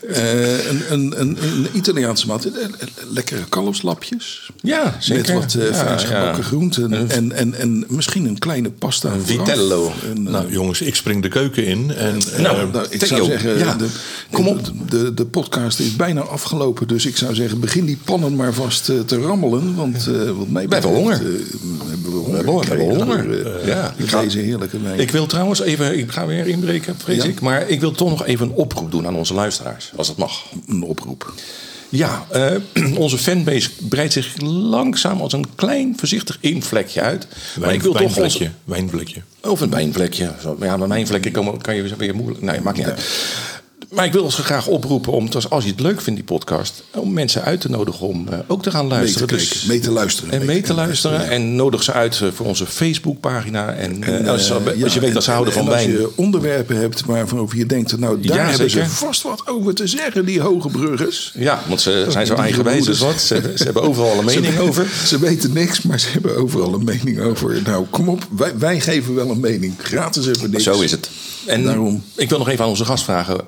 [SPEAKER 1] eh, een, een, een, een Italiaanse maaltijd, eh, eh, lekkere kalfslapjes.
[SPEAKER 2] Ja, zeker.
[SPEAKER 1] Met wat eh
[SPEAKER 2] Ja,
[SPEAKER 1] fris gebakken
[SPEAKER 2] ja.
[SPEAKER 1] groenten en, en, en misschien een kleine pasta. vooraf.
[SPEAKER 2] vitello.
[SPEAKER 1] Een, eh,
[SPEAKER 3] Nou jongens, ik spring de keuken in. En,
[SPEAKER 2] Nou,
[SPEAKER 3] eh,
[SPEAKER 1] nou, ik
[SPEAKER 2] Theo,
[SPEAKER 1] zou zeggen,
[SPEAKER 2] ja,
[SPEAKER 1] de,
[SPEAKER 2] kom op.
[SPEAKER 1] De, de, de podcast is bijna afgelopen. Dus ik zou zeggen, begin die pannen maar vast eh, te rammelen. Want eh wat mij
[SPEAKER 2] We hebben
[SPEAKER 1] betreft,
[SPEAKER 2] honger.
[SPEAKER 1] eh, we hebben honger.
[SPEAKER 2] hebben honger, we hebben
[SPEAKER 1] gekregen
[SPEAKER 2] honger.
[SPEAKER 1] door, eh,
[SPEAKER 2] Ja,
[SPEAKER 1] door
[SPEAKER 2] ik ga-
[SPEAKER 1] deze heerlijke wijn.
[SPEAKER 2] Ik wil trouwens even, ik ga weer inbreken, vrees
[SPEAKER 1] Ja.
[SPEAKER 2] ik. Maar ik wil toch nog even een oproep doen aan onze luisteraars, als dat mag.
[SPEAKER 1] een oproep.
[SPEAKER 2] Ja, eh, onze fanbase breidt zich langzaam als een klein voorzichtig invlekje uit. maar
[SPEAKER 3] wijn-
[SPEAKER 2] ik wil toch
[SPEAKER 3] wijnvlekje.
[SPEAKER 2] onze,
[SPEAKER 3] Wijnblikje.
[SPEAKER 2] Of een wijnvlekje. Zo, Ja, maar wijnvlekken komen, kan je weer moeilijk. Nee, maakt niet uit. Maar ik wil ons graag oproepen om, dus als je het leuk vindt, die podcast, om mensen uit te nodigen om eh, ook te gaan
[SPEAKER 1] Mee te,
[SPEAKER 2] luisteren.
[SPEAKER 1] kijken,
[SPEAKER 2] Dus-
[SPEAKER 1] mee te luisteren.
[SPEAKER 2] en mee te luisteren. En nodig ze uit eh, voor onze Facebookpagina. En, eh, als, ze-
[SPEAKER 1] Eh,
[SPEAKER 2] als je
[SPEAKER 1] ja,
[SPEAKER 2] weet dat ze
[SPEAKER 1] en-
[SPEAKER 2] houden
[SPEAKER 1] en-
[SPEAKER 2] van
[SPEAKER 1] en als
[SPEAKER 2] wijn.
[SPEAKER 1] je onderwerpen hebt waarover je denkt... nou, daar
[SPEAKER 2] Ja,
[SPEAKER 1] hebben ze
[SPEAKER 2] zeker.
[SPEAKER 1] vast wat over te zeggen, die hoge bruggers.
[SPEAKER 2] Ja, want ze zijn zo
[SPEAKER 1] Die
[SPEAKER 2] eigenwijs als
[SPEAKER 1] gebroeders.
[SPEAKER 2] wat. Ze, hebben- ze hebben overal een mening
[SPEAKER 1] dus. ze,
[SPEAKER 2] over.
[SPEAKER 1] Ze weten niks, maar ze hebben overal een mening over. Nou, kom op, wij, wij geven wel een mening. Gratis even niks.
[SPEAKER 2] Zo is het. En
[SPEAKER 1] Daarom.
[SPEAKER 2] ik wil nog even aan onze gast vragen.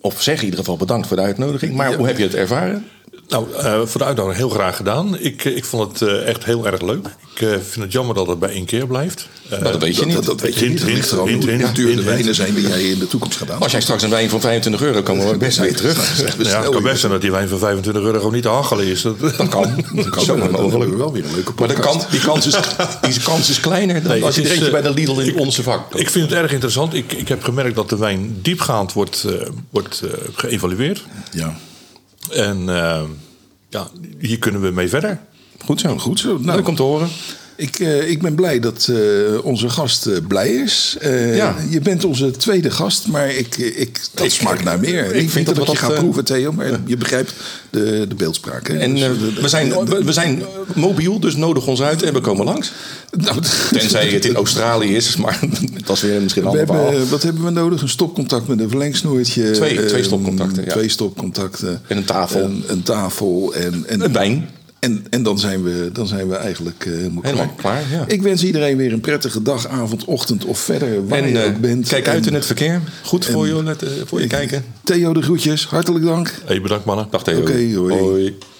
[SPEAKER 2] Of zeg in ieder geval bedankt voor de uitnodiging. Maar hoe heb je het ervaren?
[SPEAKER 3] Nou, eh, voor de uitdaging heel graag gedaan. Ik, eh, ik vond het eh, echt heel erg leuk. Ik eh, vind het jammer dat het bij één keer blijft. Eh,
[SPEAKER 2] dat weet je
[SPEAKER 1] Dat,
[SPEAKER 2] niet.
[SPEAKER 1] dat, dat weet je
[SPEAKER 3] Hint,
[SPEAKER 1] niet. Dat ligt
[SPEAKER 3] hint,
[SPEAKER 1] er aan
[SPEAKER 3] hint,
[SPEAKER 1] hoe
[SPEAKER 3] hint,
[SPEAKER 1] duur de
[SPEAKER 3] hint,
[SPEAKER 1] wijnen
[SPEAKER 3] hint.
[SPEAKER 1] zijn die jij in de toekomst gaat aan.
[SPEAKER 2] Als jij straks een wijn van 25 euro kan worden, best weer terug.
[SPEAKER 3] ja, het kan best zijn dat die wijn van 25 euro gewoon niet te hachelen is. Dat,
[SPEAKER 2] Dat kan. Dat kan
[SPEAKER 1] Zo,
[SPEAKER 2] zomaar
[SPEAKER 1] dan hebben we
[SPEAKER 2] mogelijk.
[SPEAKER 1] wel weer een leuke
[SPEAKER 2] Maar de
[SPEAKER 1] podcast.
[SPEAKER 2] kans, die, kans is, die kans is kleiner dan
[SPEAKER 3] Nee,
[SPEAKER 2] als je
[SPEAKER 3] het
[SPEAKER 2] er
[SPEAKER 3] is,
[SPEAKER 2] eentje
[SPEAKER 3] eh,
[SPEAKER 2] bij de Lidl in onze vak. koopt.
[SPEAKER 3] Ik vind het erg interessant. Ik, ik heb gemerkt dat de wijn diepgaand wordt, eh, wordt eh, geëvalueerd.
[SPEAKER 1] Ja.
[SPEAKER 3] En eh, ja, hier kunnen we mee verder.
[SPEAKER 2] Goed zo.
[SPEAKER 1] Goed zo. Nou,
[SPEAKER 2] Leuk om te horen.
[SPEAKER 1] Ik, eh, ik ben blij dat eh, onze gast eh, blij is. Eh,
[SPEAKER 2] Ja.
[SPEAKER 1] Je bent onze tweede gast, maar ik, eh, ik, dat smaakt naar meer. Ik,
[SPEAKER 2] vind
[SPEAKER 1] vind
[SPEAKER 2] dat
[SPEAKER 1] dat,
[SPEAKER 2] we
[SPEAKER 1] je
[SPEAKER 2] dat,
[SPEAKER 1] gaat
[SPEAKER 2] eh,
[SPEAKER 1] proeven, Theo, maar je begrijpt de, de beeldspraak. hè?
[SPEAKER 2] En
[SPEAKER 1] Dus,
[SPEAKER 2] eh,
[SPEAKER 1] eh, de-
[SPEAKER 2] we, zijn, we, we zijn mobiel, dus nodig ons uit en we komen langs.
[SPEAKER 1] Nou,
[SPEAKER 2] Tenzij het in Australië is, maar dat is weer misschien een
[SPEAKER 1] We
[SPEAKER 2] ander verhaal.
[SPEAKER 1] hebben, wat hebben we nodig? Een stopcontact met een verlengsnoertje.
[SPEAKER 2] Twee-
[SPEAKER 1] eh,
[SPEAKER 2] twee stopcontacten, ja.
[SPEAKER 1] Twee stopcontacten.
[SPEAKER 2] En een tafel.
[SPEAKER 1] En, een tafel. En, en,
[SPEAKER 2] Een wijn.
[SPEAKER 1] En, en dan, zijn we, dan zijn we eigenlijk eh, helemaal,
[SPEAKER 2] Helemaal klaar, ja.
[SPEAKER 1] Ik wens iedereen weer een prettige dag, avond, ochtend of verder waar
[SPEAKER 2] En
[SPEAKER 1] je
[SPEAKER 2] eh,
[SPEAKER 1] ook bent.
[SPEAKER 2] kijk uit in het verkeer. Goed voor,
[SPEAKER 1] en-
[SPEAKER 2] je, let, eh, voor je kijken.
[SPEAKER 1] Theo de groetjes. Hartelijk dank.
[SPEAKER 3] hey, bedankt mannen.
[SPEAKER 2] Dag Theo.
[SPEAKER 1] Oké, hoi.
[SPEAKER 2] hoi.